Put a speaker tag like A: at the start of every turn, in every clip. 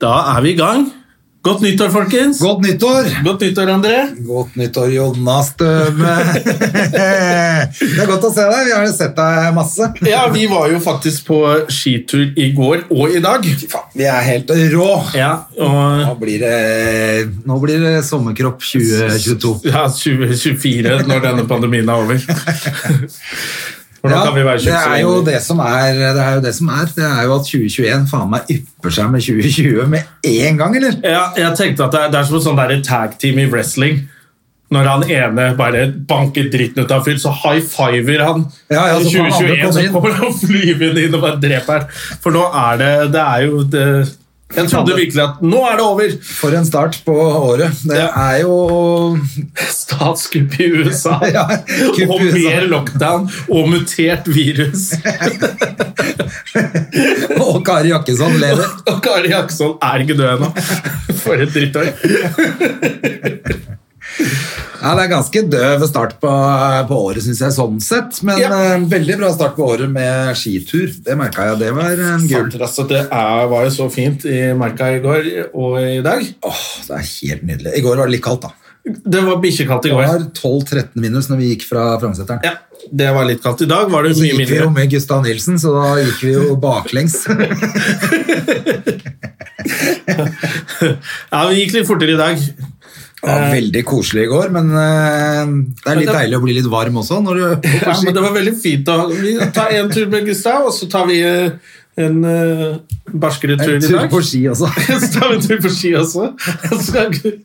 A: Da er vi i gang. Godt nyttår, folkens.
B: Godt nyttår!
A: Godt nyttår, André.
B: Godt nyttår, Jonas Støme. det er godt å se deg. Vi har jo sett deg masse.
A: Ja, vi var jo faktisk på skitur i går og i dag.
B: Fy faen, Vi er helt rå.
A: Ja, og
B: Nå blir det, nå blir det sommerkropp 2022.
A: ja, 2024 når denne pandemien er over. For nå
B: Ja,
A: kan vi være
B: det er jo
A: kjøpsvennlige.
B: det som er. Det er jo det som er. Det er jo at 2021 faen meg ypper seg med 2020 med en gang, eller?
A: Ja, jeg tenkte at det er, det er som et sånn der tag team i wrestling. Når han ene bare banker dritten ut av fyren, så high fiver han.
B: Ja, ja,
A: I
B: så kommer andre
A: 2021 så
B: kommer
A: kommer han flyvende inn og bare dreper han. For nå er det Det er jo det, Jeg trodde virkelig at nå er det over!
B: For en start på året. Det
A: Ja.
B: er jo
A: Statskupp i USA.
B: Ja, kupp i
A: og
B: USA.
A: mer lockdown og mutert virus.
B: Og Kari Jakkesson lever.
A: Og Kari Jaksson er ikke død ennå. For et drittår.
B: Ja, Det er ganske døv start på, på året, syns jeg, sånn sett. Men
A: Ja.
B: eh, veldig bra start på året med skitur. Det merka jeg. Det var en gul.
A: Fantastisk, altså, det er, var jo så fint i merka i går og i dag.
B: Åh, det er helt nydelig. I går var det litt kaldt, da.
A: Det var bikkjekaldt i
B: Det
A: går.
B: var 12-13 minus når vi gikk fra Frognerseteren.
A: Ja, det var litt kaldt. I dag var det
B: Så
A: mye
B: gikk vi jo
A: mindre.
B: med Gustav Nilsen, så da gikk vi jo baklengs.
A: Ja, Det gikk litt fortere i dag.
B: Det var veldig koselig i går, men eh, det er litt deilig å bli litt varm også. Når du,
A: Ja, men det var veldig fint. Da. Vi tar en tur med Gustav, og så tar vi eh, en eh, barskere tur i
B: en tur
A: dag.
B: på ski også.
A: Så tar vi en tur på ski også. Så er Gu-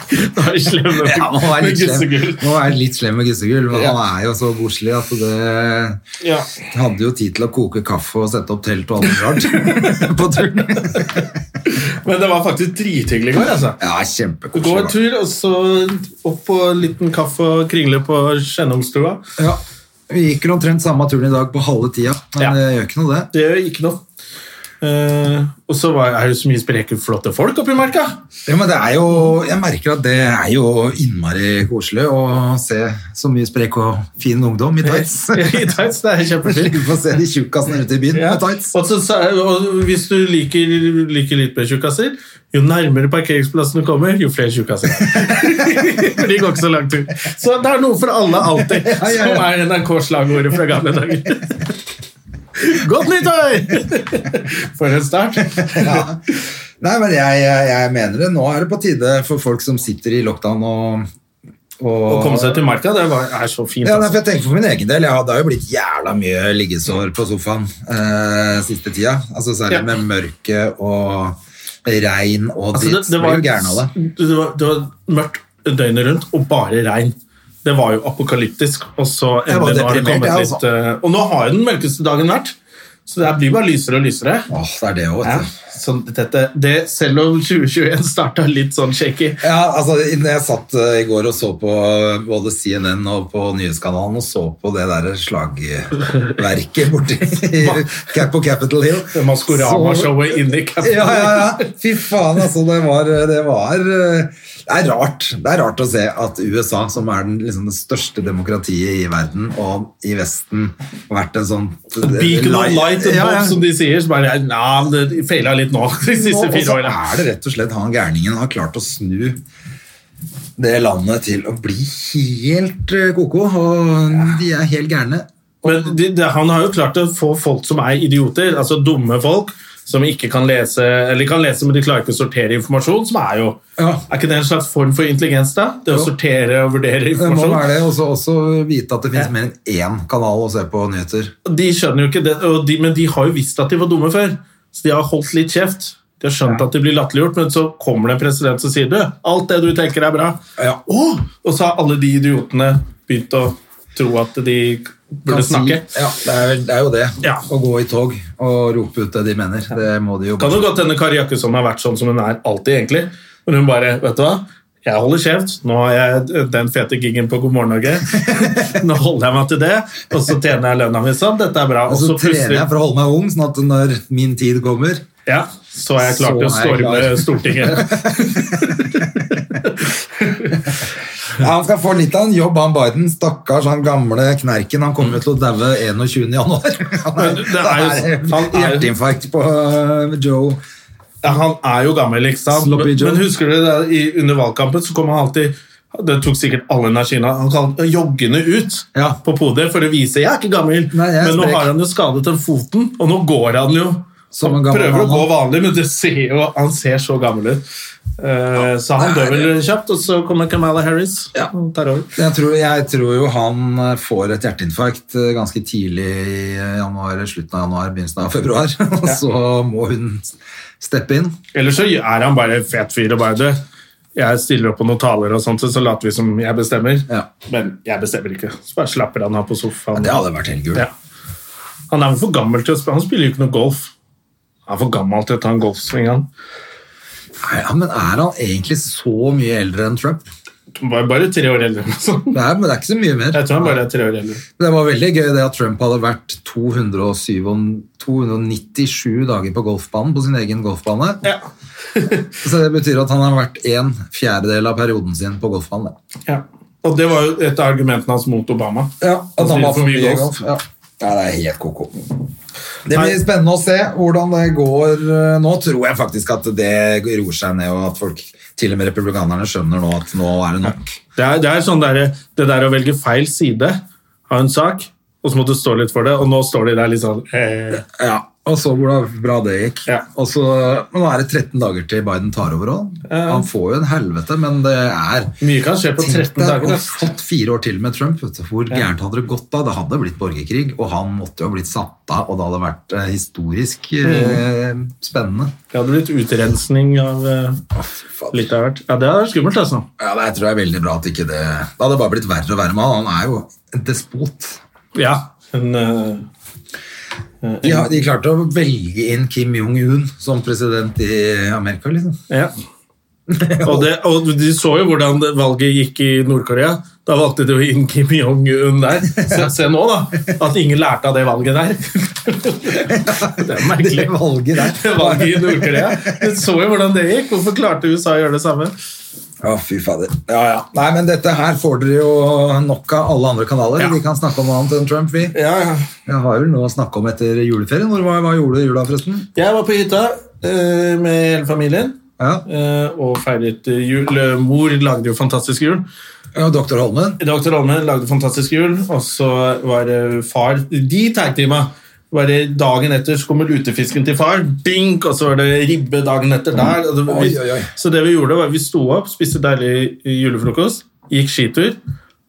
A: Nå er vi slemme med,
B: Ja, må være
A: med
B: litt slem,
A: gussegull.
B: må være litt slem med gussegull, men
A: Ja.
B: han er jo så koselig at det
A: Ja.
B: Jeg hadde jo tid til å koke kaffe og sette opp telt og alt mulig rart på turen.
A: Men det var faktisk drithyggelig i går. altså.
B: Ja,
A: Gå en
B: kjempekoselig.
A: tur, og så opp på en liten kaffe og kringle på Skjennungstua.
B: da. Ja. Vi gikk jo omtrent samme turen i dag på halve tida, men
A: Ja.
B: det gjør ikke noe, det.
A: Det gjør ikke noe. Eh, og så var, er det så mye spreke, flotte folk oppi marka.
B: Ja, men det er jo, jeg merker at det er jo innmari koselig å se så mye sprek og fin ungdom i tights.
A: I tights, det er kjempefint.
B: Vi får se de tjukkasene ute i byen
A: Ja.
B: med tights.
A: Og, så, sa- og hvis du liker, liker litt mer tjukkaser, jo nærmere parkeringsplassen du kommer, jo flere tjukkaser er det. For de går ikke så langt ut. Så det er noe for alle alltid,
B: Ja, ja, ja.
A: som er NRK-slagordet fra gamle dager. Godt nyttår! For en start.
B: Ja. Nei, men jeg, jeg, jeg mener det. Nå er det på tide for folk som sitter i lockdown og
A: Å komme seg til marka, det var, er så fint.
B: Ja, nei,
A: Altså.
B: for jeg tenker for min egen del, ja, det har jo blitt jævla mye liggesår på sofaen eh, siste tida. Altså Særlig
A: Ja.
B: med mørke og regn og
A: Altså,
B: dritt.
A: det, det, var,
B: Blir jo gæren av det.
A: det, var, det var mørkt døgnet rundt og bare regn. Det var jo apokalyptisk. Og så
B: Jeg var
A: endelig nå har det
B: deprimert,
A: kommet
B: jeg, altså.
A: litt eh, Og nå har jo den mørkeste dagen vært, så det her blir bare lysere og lysere.
B: Åh, det er det også,
A: Ja,
B: vet du.
A: så dette, det, selv om 2021 starta litt sånn shaky
B: Ja, altså, når jeg satt eh, i går og så på eh, både CNN og på nyhetskanalen og så på det der slagverket borti i- Cap- på Capitol Hill
A: Det Maskorama-showet inni
B: Ja,
A: Capitol.
B: ja, ja. Fy faen, altså. Det var, det var eh, Det er rart. Det er rart å se at USA, som er den, liksom, det største demokratiet i verden og i Vesten, har vært en sånn
A: Beacon of light and
B: Ja,
A: hope,
B: ja.
A: som de sier. Så bare, ja, det feila litt nå de
B: Nå-
A: siste
B: Og
A: fire
B: så
A: åra.
B: er det rett og slett han gærningen har klart å snu det landet til å bli helt eh, koko, og de er helt gærne.
A: Men de, de, han har jo klart å få folk som er idioter, altså dumme folk, som ikke kan lese, eller kan lese, men de klarer ikke å sortere informasjon, som er jo
B: Ja.
A: Er ikke det en slags form for intelligens, da? Det å
B: Jo.
A: sortere og vurdere
B: Det må
A: informasjon.
B: være det. Og så også vite at det finnes mer enn én kanal å se på nyheter.
A: De skjønner jo ikke det, og de, men de har jo visst at de var dumme før. Så de har holdt litt kjeft. De har skjønt at de blir latterliggjort, men så kommer det en president som sier du, alt det du tenker er bra.
B: Ja.
A: Åh! Og så har alle de idiotene begynt å tro at de burde snakke.
B: Ja, det er, vel- det er jo det.
A: Ja.
B: Å gå i tog og rope ut det de mener. Det må de jo
A: Kan jo godt hende Kari Jakkesson har vært sånn som hun er alltid, egentlig. Men hun bare Vet du hva? Jeg holder kjeft. Nå har jeg den fete gigen på God morgen Norge. Nå holder jeg meg til det, og så tjener jeg lønna mi sånn. Dette er bra. Og
B: Og Altså, så
A: så
B: trener jeg
A: plutselig
B: for å holde meg ung, sånn at når min tid kommer
A: ja, så er jeg klar til å
B: Så er jeg
A: storme
B: klar.
A: Stortinget.
B: ja, Han skal få litt av en jobb, han Biden. Stakkars han gamle knerken. Han kommer jo til å daue 21. januar. Han
A: Men
B: er,
A: det er jo-
B: det er
A: han er jo-
B: hjerteinfarkt på øh, Joe.
A: Ja, han er jo gammel, ikke sant? Men,
B: Sloppy Joe.
A: men husker du det, i- under valgkampen så kom han alltid det tok sikkert all energien av Han kom joggende ut
B: Ja.
A: på podiet for å vise 'jeg er ikke gammel',
B: Nei, jeg er
A: men nå
B: sprek.
A: har han jo skadet den foten, og nå går han jo.
B: Som en
A: han
B: gammel
A: prøver å
B: mann,
A: gå
B: han.
A: vanlig, men du ser jo, han ser så gammel ut. Eh, så han
B: det er
A: dør vel kjapt, og så kommer Kamala Harris
B: Ja.
A: og tar over.
B: Jeg tror, jeg tror jo han eh, får et hjerteinfarkt eh, ganske tidlig i eh, januar, slutten av januar, begynnelsen av februar. Og så må hun steppe inn.
A: Eller så er han bare fet fyr og bare du. Jeg stiller opp på noen taler, og sånt, så later vi som jeg bestemmer.
B: Ja.
A: Men jeg bestemmer ikke. Så bare slapper han av på sofaen.
B: Det hadde vært helt gull.
A: Ja. Han er vel for gammel til å spille. Han spiller jo ikke noe golf. Han er for gammel til å ta en golfsving. Han.
B: Nei, ja, men er han egentlig så mye eldre enn Trump?
A: Han var bare tre år eldre. liksom.
B: Nei, men det er ikke så mye mer.
A: Jeg tror han bare er tre år eldre.
B: Det var veldig gøy det at Trump hadde vært 207, og- 297 dager på golfbanen, på sin egen golfbane.
A: Ja.
B: Så det betyr at han har vært en fjerdedel av perioden sin på golfbanen. det.
A: ja. Og det var jo et av argumentene hans mot Obama.
B: at han var for
A: mye
B: mye
A: golf.
B: golf. Ja. Ja, det er helt koko. Det blir spennende å se hvordan det går. eh, Nå tror jeg faktisk at det roer seg ned, og at folk, til og med republikanerne, skjønner nå at nå er det nok.
A: Det er, det er sånn der, det der å velge feil side av en sak, og så må du stå litt for det, og nå står de der litt sånn eh,
B: Ja, og så hvor da- bra det gikk.
A: Ja.
B: Og så, men nå er det 13 dager til Biden tar over òg. Han får jo en helvete, men det er
A: Mye kan skje på
B: Tenk
A: 13
B: deg
A: dager.
B: å ha
A: ass.
B: fått fire år til med Trump. Vet du. Hvor gærent hadde det gått da? Det hadde blitt borgerkrig, og han måtte jo ha blitt satt av, og det hadde vært eh, historisk eh,
A: Mm.
B: spennende.
A: Det hadde blitt utrensning av eh, litt av hvert. Ja, det hadde vært skummelt, altså.
B: Ja, det tror jeg er veldig bra at ikke det Det hadde bare blitt verre og verre med han. Han er jo en despot.
A: Ja. Men, eh,
B: De, har- de klarte å velge inn Kim Jong-un som president i Amerika, liksom.
A: Ja. Og, det, og de så jo hvordan det- valget gikk i Nord-Korea. Da valgte de jo inn Kim Jong-un der. Se, se nå, da! At ingen lærte av det valget der. Det er merkelig.
B: Det valget der.
A: Det valget i Nord-Korea. Du så jo hvordan det gikk. Hvorfor klarte USA å gjøre det samme?
B: Ja, fy fader. Ja, ja. Nei, men dette her får dere jo nok av alle andre kanaler.
A: Ja.
B: Vi kan snakke om noe annet enn Trump, vi. Jeg har vel noe å snakke om etter juleferien. Hvor- Hva, hva gjorde du i jula, forresten?
A: Jeg var på hytta eh, med hele familien
B: Ja,
A: eh, og feiret eh, jul. Mor lagde jo fantastisk jul.
B: ja Doktor Holmen.
A: Dr. Holmen lagde fantastisk jul, og så var det far De tagtima. Bare dagen etter så kommer lutefisken til far, dink, og så var det ribbe dagen etter der. Og det, var-
B: Oi, oi, oi.
A: Så det vi gjorde, var vi sto opp, spiste deilig julefrokost, gikk skitur,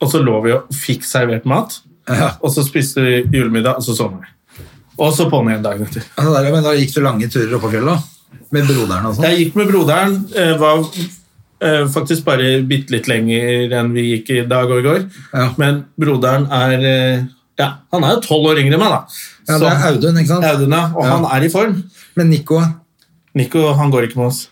A: og så lå vi og fikk servert mat.
B: Ja.
A: Og så spiste vi julemiddag, og så sovna vi. Og så på'n igjen dagen etter.
B: Altså, der, men da gikk du lange turer oppå fjellet, da? Med broderen og sånn?
A: Jeg gikk med broderen. eh, Var eh, faktisk bare bitte litt lenger enn vi gikk i dag og i går.
B: Ja.
A: Men broderen er eh, Ja, han er jo tolv år yngre enn meg, da.
B: Ja, det er Audun, ikke sant?
A: Audun, ja. Og
B: Ja.
A: han er i form.
B: Men Nico, han
A: Nico han går ikke med oss.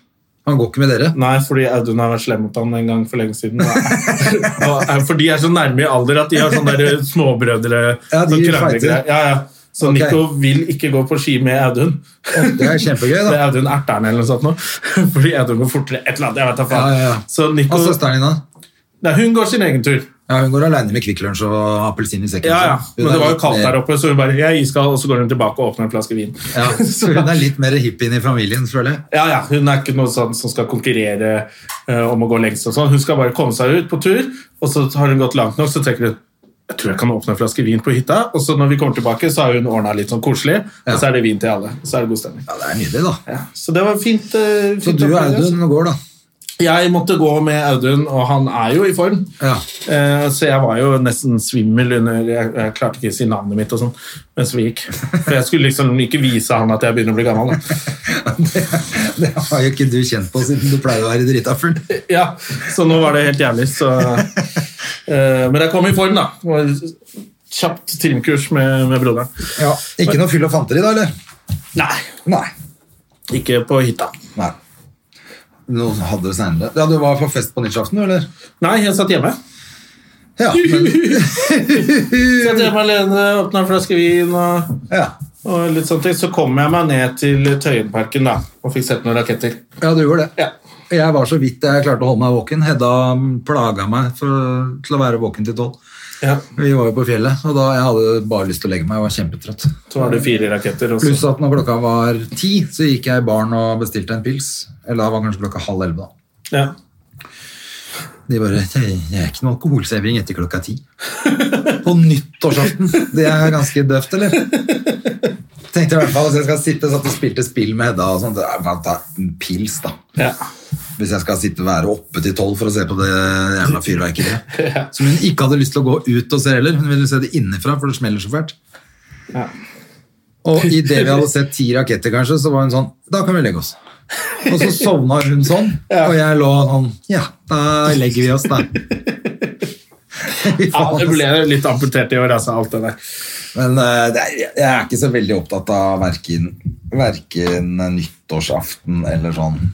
B: går ikke med dere?
A: Nei, fordi Audun har vært slem mot han en gang for lenge siden. Og, eh, for de er så nærme i alder at de har sånne der småbrødre
B: Ja, de
A: sånn kranglegreier.
B: fighter.
A: Ja, ja. Så
B: Ok.
A: Nico vil ikke gå på ski med Audun.
B: Det er kjempegøy,
A: Det er
B: da.
A: Audun Erteren eller noe sånt nå. Fordi Audun går fortere. Et eller annet, jeg vet da faen.
B: Ja, ja, ja.
A: Så Nico,
B: Og søsteren din, da?
A: Nei, hun går sin egen tur.
B: Ja, hun går aleine med Kvikk Lunsj og appelsin i sekken.
A: Ja, ja.
B: så hun
A: Men
B: er
A: det var jo
B: litt
A: kaldt
B: mer-
A: der oppe, så hun bare jeg er iskald, og så går hun tilbake og åpner en flaske vin.
B: Ja, så hun er litt mer hippien i familien, føler jeg.
A: Ja, ja, Hun er ikke noe sånn som skal konkurrere eh, om å gå lengst. og sånn. Hun skal bare komme seg ut på tur, og så har hun gått langt nok, så tenker hun jeg tror jeg kan åpne en flaske vin på hytta, og så når vi kommer tilbake, så har hun ordna litt sånn koselig,
B: Ja.
A: og så er det vin til alle. og Så er det god stemning.
B: Ja, det er nydelig, da.
A: Ja, så det var fint. eh,
B: Så
A: fint
B: du og
A: opplegg, altså.
B: Audun går, da.
A: Jeg måtte gå med Audun, og han er jo i form.
B: Ja.
A: Eh, Så jeg var jo nesten svimmel under Jeg, jeg klarte ikke å si navnet mitt og sånn mens vi gikk. For jeg skulle liksom ikke vise han at jeg begynner å bli gammel. Da.
B: Det, det har jo ikke du kjent på siden du pleier å være drita full.
A: Ja, Så nå var det helt jævlig. Så. eh, Men jeg kom i form, da. Og kjapt timekurs med, med broderen.
B: Ja, ikke noe fyll og fanteri da, eller?
A: Nei,
B: Nei.
A: ikke på hytta.
B: Nei. Noe som hadde det senere. Ja, du var på fest på nyttårsaften, du, eller?
A: Nei, jeg satt hjemme.
B: Ja, men,
A: Satt hjemme alene, åpna en flaske vin og,
B: ja.
A: og litt sånne ting. Så kom jeg meg ned til Tøyenparken da, og fikk sett noen raketter.
B: ja du gjorde det.
A: Ja.
B: Jeg var så vidt jeg klarte å holde meg våken. Hedda mm, plaga meg for, til å være våken til tolv.
A: Ja.
B: Vi var jo på fjellet, og da jeg hadde bare lyst til å legge meg. Jeg var kjempetrøtt.
A: Så var det fire raketter. Og så.
B: Pluss at når klokka var ti, så gikk jeg i baren og bestilte en pils. Eller da var kanskje klokka halv elleve, da.
A: Ja.
B: De bare «Det er ikke noe alkoholseving etter klokka ti. På nyttårsaften. Det er ganske døvt, eller? Tenkte jeg i hvert fall, Hvis jeg skal sitte satt og spilte spill med Hedda og sånt, så jeg kan ta en pils, da.
A: Ja.
B: Hvis jeg skal sitte være oppe til tolv for å se på det jævla fyrverkeriet. Som hun ikke hadde lyst til å gå ut og se heller. Hun ville se det innenfra, for det smeller så fælt.
A: Ja.
B: Og idet vi hadde sett ti raketter, kanskje, så var hun sånn Da kan vi legge oss. Og så sovna hun sånn, og jeg lå sånn Ja, da legger vi oss, da. Fy
A: ja,
B: faen,
A: det
B: ass.
A: ble litt amputert i år, altså, alt det der.
B: Men eh, det er, jeg er ikke så veldig opptatt av verken, verken nyttårsaften eller sånn.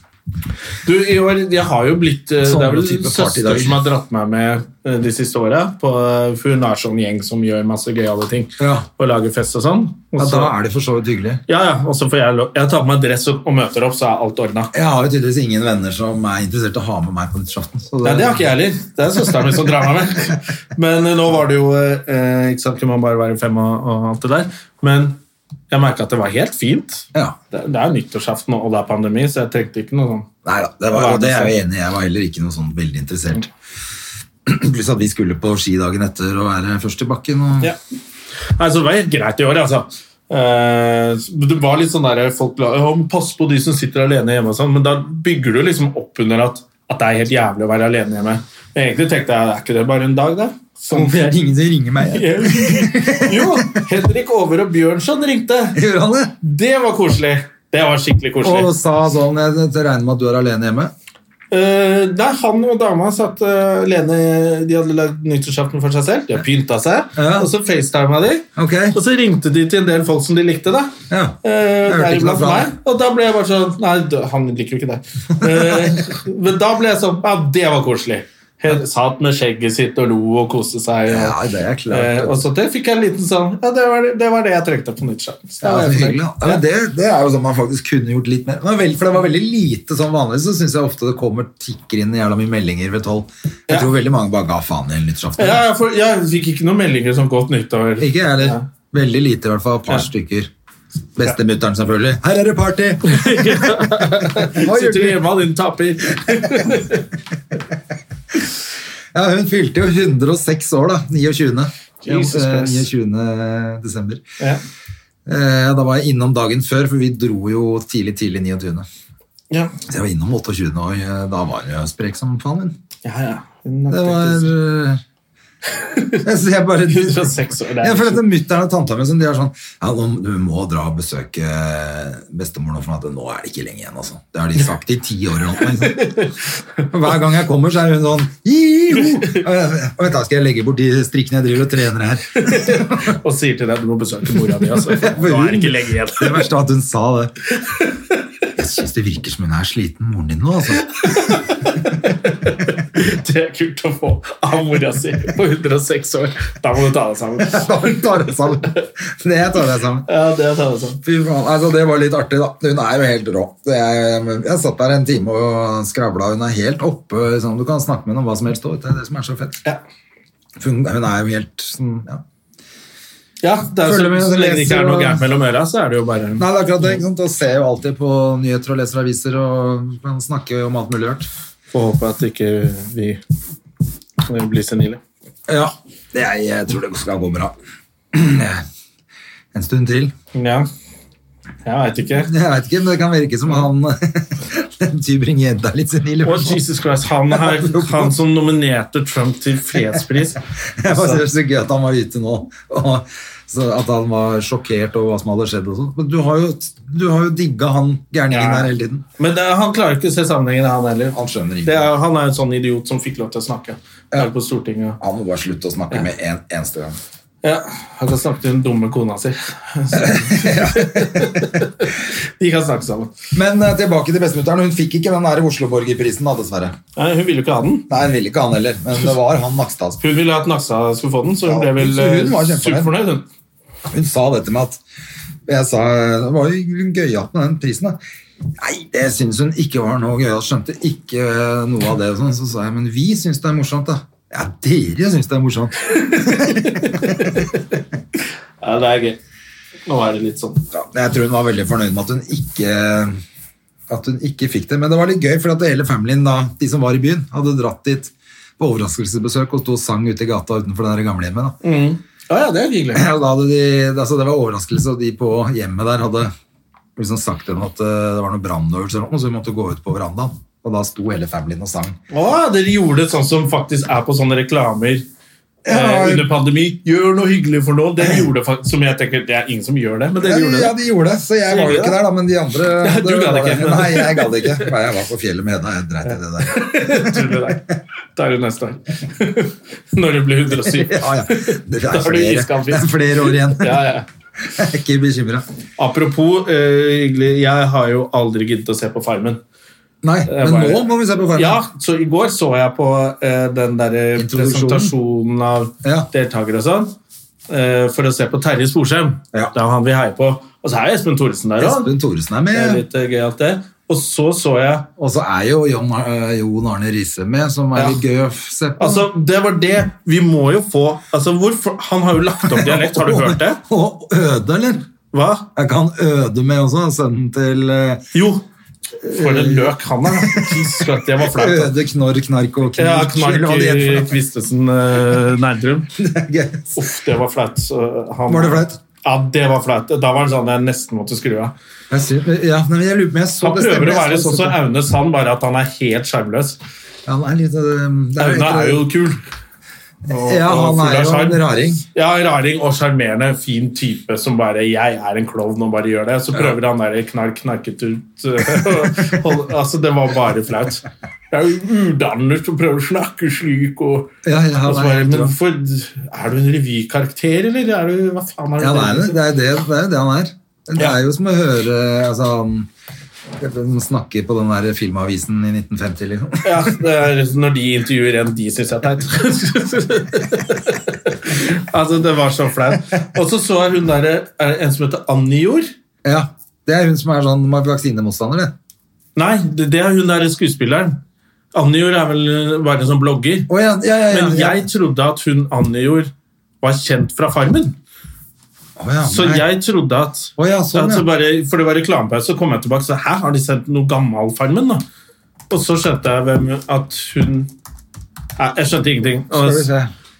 A: Du, i år, jeg har jo blitt eh, Det
B: Sånne
A: er vel
B: type
A: søster
B: partydager.
A: som har dratt meg med eh, de siste åra. på, eh, For hun er sånn gjeng som gjør masse gøyale ting.
B: Ja.
A: Og lager fest og sånn. Og
B: Ja,
A: så-
B: da er det for så vidt hyggelig.
A: ja, ja, og så får jeg lov Jeg tar på meg dress og, og møter opp, så er alt ordna.
B: Jeg har jo tydeligvis ingen venner som er interessert i å ha med meg på nyttårsaften. så
A: Nei, det har ikke jeg heller. Det er søsteren min som drar meg med. Men eh, nå var det jo eh, Ikke sant, kunne man bare være fem og, og alt det der. Men jeg merka at det var helt fint.
B: Ja.
A: Det, det er nyttårsaften og det er pandemi, så jeg trengte ikke noe sånn
B: Nei da, det, var, og det er jeg jo enig i. Jeg var heller ikke noe sånn veldig interessert. Pluss at vi skulle på ski dagen etter og være først i bakken. Og...
A: Ja. Nei, så det var helt greit i år, altså. Eh, det var litt sånn der folk la, «Å, men Pass på de som sitter alene hjemme, og sånn, men da bygger du liksom opp under at, at det er helt jævlig å være alene hjemme. Men egentlig tenkte jeg er ikke det bare en dag, da? Som,
B: Hvorfor er det ingen som ringer meg?
A: jo, Henrik Over og Bjørnson ringte.
B: Gjør han det?
A: Det var koselig. Det var skikkelig
B: Og
A: koselig.
B: sa sånn Jeg jeg regner med at du er alene hjemme.
A: Eh, nei, han og dama satt eh, alene De hadde lagd nyttårsaften for seg selv. De har pynta seg.
B: Ja.
A: Og så facetima de.
B: Ok.
A: Og så ringte de til en del folk som de likte, da.
B: Ja.
A: Eh,
B: Jeg hørte ikke noe
A: Deriblant
B: fra
A: meg. Og da ble jeg bare sånn Nei, dø- han liker jo ikke deg. Eh, men da ble jeg sånn Ja, det var koselig. Helt satt med skjegget sitt og lo og koste seg. Og,
B: Ja, det er klart.
A: Eh, og så det fikk jeg en liten sånn Ja, det var det, det, var det jeg trengte på nyttårsaften. Så da
B: Ja,
A: var
B: så
A: jeg
B: hyggelig, da.
A: fornøyd.
B: ja, men det, det er jo sånn man faktisk kunne gjort litt mer. Men vel, for det var veldig lite sånn vanlig, så syns jeg ofte det kommer tikker inn jævla mye meldinger ved tolv. Jeg
A: Ja.
B: tror veldig mange bare ga faen i hele nyttårsaften.
A: Ja, jeg, får- jeg fikk ikke noen meldinger som godt nyttår.
B: Ikke jeg heller.
A: Ja.
B: Veldig lite, i hvert fall. Et par
A: Ja.
B: stykker. Bestemutteren, selvfølgelig. 'Her er det party!' Hva gjør
A: Sitter du
B: du?
A: hjemme, din taper?
B: Ja, hun fylte jo 106 år, da. 29.
A: Jesus
B: Eh,
A: Christ.
B: 29. desember.
A: Ja.
B: Eh, Da var jeg innom dagen før, for vi dro jo tidlig, tidlig 29.
A: Ja.
B: Så jeg var innom 28. og eh, da var jeg sprek som faen min.
A: ja, ja.
B: Det var eh, Jeg, synes jeg bare
A: 106 år. Det
B: Ja,
A: er
B: for dette mutteren og tanta mi som de er sånn ja, nå, Du må dra og besøke bestemor nå, for at nå er det ikke lenge igjen. Altså. Det har de sagt i ti år. eller noe, liksom. Og Hver gang jeg kommer, så er hun sånn «Jiho!» Og jeg- og Vent, da skal jeg legge bort de strikkene jeg driver og trener her.
A: og sier til deg du må besøke mora di. Altså. Nå er det ikke lenge igjen.
B: Det verste er at hun sa det. Jeg syns det virker som hun er sliten, moren din nå, altså.
A: Det er kult å få av mora si på 106 år. Da må du ta deg sammen.
B: Da tar jeg sammen. Det tar jeg sammen.
A: Ja, det er å ta deg sammen.
B: Fy faen, altså Det var litt artig, da. Hun er jo helt rå. Jeg, jeg satt der en time og skravla. Hun er helt oppe. Sånn. Du kan snakke med henne om hva som helst. også. Det er det som er så fett.
A: Ja.
B: For Hun, hun er jo helt sånn, ja.
A: Ja, det er jo
B: Følger
A: så,
B: med,
A: så lenge det ikke er noe
B: leser og-
A: gærent mellom øra, så er det jo bare
B: Nei, det er akkurat det. ikke sant? Og ser jo alltid på nyheter og leser aviser og kan snakke om alt mulig rart.
A: Få håpe at ikke vi blir senile.
B: Ja. Jeg, jeg tror det skal gå bra. En stund til.
A: Ja. Jeg veit ikke.
B: Jeg veit ikke, men det kan virke som han den Tybring-Gjedda er litt senil. i
A: Å,
B: hvert fall.
A: Jesus Christ, han, her, han som nominerte Trump til fredspris
B: Jeg bare synes det er gøy at han var ute nå, og så at han var sjokkert over hva som hadde skjedd. og sånt. Men du har jo, du har jo digga han gærningen
A: Ja.
B: der hele tiden.
A: Men det, han klarer ikke å se sammenhengen, han heller.
B: Han skjønner
A: Det
B: ikke.
A: er, han er en sånn idiot som fikk lov til å snakke her på Stortinget.
B: Han må bare slutte å snakke med en eneste gang.
A: Ja, han kan snakke til den dumme kona si. Så. De kan snakke sammen.
B: Men eh, tilbake til bestemutteren. Hun fikk ikke den der Oslo-borgerprisen, da, dessverre.
A: Nei, hun ville jo ikke ha den.
B: Nei, hun ville ikke han heller, men det var han Nakstad.
A: Hun ville at Naksa skulle få den, så hun
B: Ja,
A: ble vel
B: så hun var
A: eh,
B: kjempefornøyd.
A: superfornøyd. Hun.
B: Hun sa dette med at jeg sa, Det var jo gøyalt med den prisen, da. Nei, det syns hun ikke var noe gøyalt. Skjønte ikke eh, noe av det. og Sånn. Så sa jeg, men vi syns det er morsomt, da. Ja, dere syns det er morsomt.
A: Ja, det er gøy. Nå er det litt sånn.
B: Ja, jeg tror hun var veldig fornøyd med at hun ikke at hun ikke fikk det, men det var litt gøy, for at hele familien da, de som var i byen, hadde dratt dit på overraskelsesbesøk og sto og sang ute i gata utenfor den der gamlehjemmet.
A: Mm.
B: da.
A: Ja, ja, det er hyggelig.
B: Og da hadde de, altså det var overraskelse, og de på hjemmet der hadde liksom sagt til dem at eh, det var noen brannøvelser, og så vi måtte gå ut på verandaen. Og da sto hele familien og sang.
A: Å, dere gjorde det sånn som faktisk er på sånne reklamer eh,
B: Ja.
A: under pandemi. Gjør noe hyggelig for noen. Dere gjorde det, fakt- som jeg tenker, det er ingen som gjør det, men dere gjorde
B: Ja,
A: det.
B: de gjorde det, så jeg var jo ikke der, da, men de andre
A: Ja, du gadd ikke.
B: Nei, jeg gadd ikke. Nei, Jeg var på fjellet med Hedda, jeg dreit i det der.
A: Tuller deg. Da er det neste år. Når det blir 107.
B: Ja, ja.
A: Da
B: Det er
A: har du
B: flere,
A: iskald
B: det er
A: fisk.
B: flere år igjen.
A: Ja, ja.
B: Jeg er ikke bekymra.
A: Apropos eh, hyggelig, jeg har jo aldri giddet å se på Farmen.
B: Nei,
A: Jeg
B: men
A: bare-
B: nå må vi se på farmen.
A: Ja, så i går så jeg på eh, den der
B: Introduksjonen.
A: presentasjonen av
B: Ja.
A: deltakere og sånn, eh, for å se på Terje Sporsem.
B: Ja.
A: Det er han vi heier på. Og så er jo Espen Thoresen der òg.
B: Espen Thoresen er
A: Det er
B: med,
A: litt eh, gøyalt, det. Og så så jeg
B: og så er jo Jon, øh, Jon Arne Riise med, som er
A: Ja.
B: litt gøy å f- se på.
A: Altså, det var det. Vi må jo få altså, hvorfor, Han har jo lagt opp dialekt, har du hørt det?
B: Og Øde, eller?
A: Hva?
B: Jeg kan Øde med også, sønnen til øh,
A: Jo. For en løk han er. Jesus, Det var flaut.
B: Øde Knorr Knark og
A: Ja,
B: Skyld, hva de heter for
A: Knark
B: noe.
A: Kvistesen eh, Nerdrum.
B: Gøy.
A: Uff, det var flaut. så han-
B: Var det flaut?
A: Ja, det var flaut. Da var det sånn jeg nesten måtte skru av.
B: Jeg synes- Ja, nei, men jeg lurer på om jeg så
A: Han prøver
B: stemmer,
A: å
B: jeg
A: være
B: så-
A: sånn som Aune Sand, bare at han er helt sjarmløs.
B: Ja, han er litt øh, det
A: Aune er jo kul. Og-
B: Ja,
A: og
B: han
A: full
B: er
A: av
B: jo
A: sjarm.
B: en raring.
A: Ja, raring og sjarmerende, fin type som bare 'jeg er en klovn' og bare gjør det. Så prøver han der knark knarket ut øh, hold- Altså, det var bare flaut. Det er jo udannet å prøve å snakke slik og
B: Ja, ja, han
A: og så
B: er
A: bare,
B: helt
A: Men
B: rå.
A: hvorfor Er du en revykarakter, eller er du Hva faen er du?
B: Ja, det er det. Det er det, det, er det han er. Det
A: Ja.
B: er jo som å høre altså, han snakke på den der filmavisen i 1950, liksom.
A: Ja, det er når de intervjuer en de syns er teit. altså, det var så flaut. Og så så jeg hun derre Er det en som heter Annie Jord?
B: Ja, det er hun som er sånn vaksinemotstander, det.
A: Nei, det, det er hun derre skuespilleren. Annie Jord er vel bare en sånn blogger.
B: Å ja, ja, ja, ja,
A: Men
B: ja.
A: jeg trodde at hun Annie Jord var kjent fra Farmen.
B: Å ja,
A: Så
B: nei.
A: jeg trodde at
B: Å ja, sånn,
A: at så
B: ja.
A: bare, For det var reklamepause, så kom jeg tilbake og sa Hæ, har de sendt noe gammel Farmen? da? Og så skjønte jeg hvem at hun Nei, jeg skjønte ingenting. Og-
B: Skal vi se.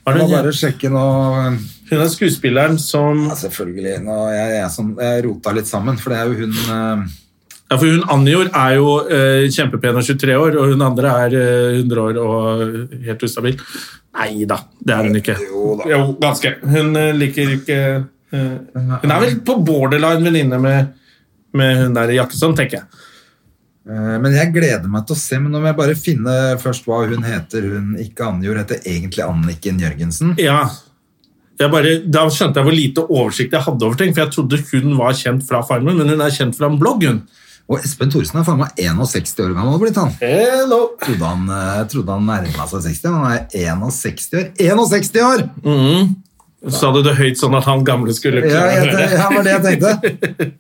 A: Var
B: Jeg
A: det
B: må
A: en-
B: bare sjekke nå
A: Hun er skuespilleren som
B: ja, Selvfølgelig. Nå, jeg, jeg, er sånn- jeg rota litt sammen, for det er jo hun eh,
A: Ja, for hun Anjor er jo eh, kjempepen og 23 år, og hun andre er eh, 100 år og helt ustabil. Nei da, det er hun ikke.
B: Jo da.
A: ganske. Hun eh, liker ikke eh, Hun er vel på borderline venninne med, med hun der i Jakkesson, tenker jeg.
B: eh, Men jeg gleder meg til å se. Men nå må jeg bare finne først hva hun heter. Hun ikke Annjord heter egentlig Anniken Jørgensen.
A: Ja. Jeg bare, da skjønte jeg hvor lite oversikt jeg hadde over ting, for jeg trodde hun var kjent fra Farmen, men hun er kjent fra en blogg, hun.
B: Og Espen Thoresen er faen meg 61 år gammel blitt, han.
A: Hello.
B: trodde han, eh, trodde han nærma seg 60, men han er 61 år. 61 år!
A: Sa du det høyt sånn at han gamle skulle
B: Ja,
A: klare å
B: jeg,
A: høre?
B: te- ja, var det jeg tenkte.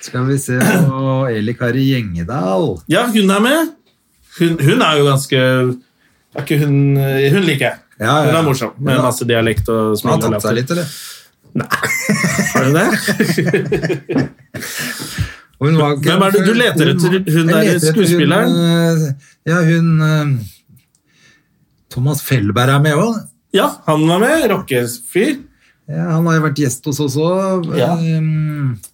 B: Skal vi se på Eli Kari Gjengedal.
A: Ja, hun er med. Hun, hun er jo ganske er ikke hun, hun liker jeg.
B: Ja, ja, ja.
A: Hun er morsom, med
B: Hun har-
A: masse dialekt og
B: Hun har
A: smil. og
B: tatt
A: latter.
B: seg litt, eller?
A: Har hun det?
B: Og hun var-
A: Hvem er det du leter etter? Hun
B: Jeg
A: der
B: leter etter
A: skuespilleren?
B: hun, eh, Ja, hun eh, Thomas Felberg er med òg.
A: Ja, han var med. Rockefyr.
B: Ja, han har jo vært gjest hos oss òg.
A: Ja.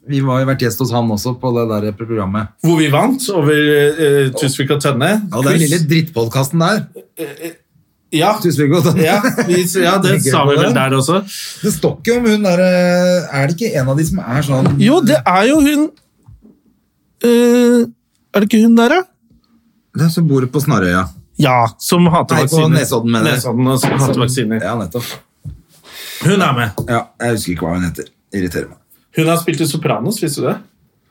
B: Vi var jo vært gjest hos han også på det der programmet.
A: Hvor vi vant over eh, Tusvik og Tønne.
B: Ja, den
A: Quiz.
B: lille drittpodkasten der.
A: ja.
B: Tusen takk.
A: Ja, vi, ja, det sa vi vel der også.
B: Det står ikke om hun der eh, Er det ikke en av de som er sånn
A: Jo, det er jo hun eh, Er det ikke hun der, da?
B: Den som bor på Snarøya.
A: Ja, som hater
B: Nei, på
A: vaksiner.
B: Nesodden, mener jeg.
A: Nesodden og som hater vaksiner.
B: Ja, nettopp.
A: Hun er med.
B: Ja, jeg husker ikke hva hun heter. Irriterer meg.
A: Hun har spilt i Sopranos, visste du det?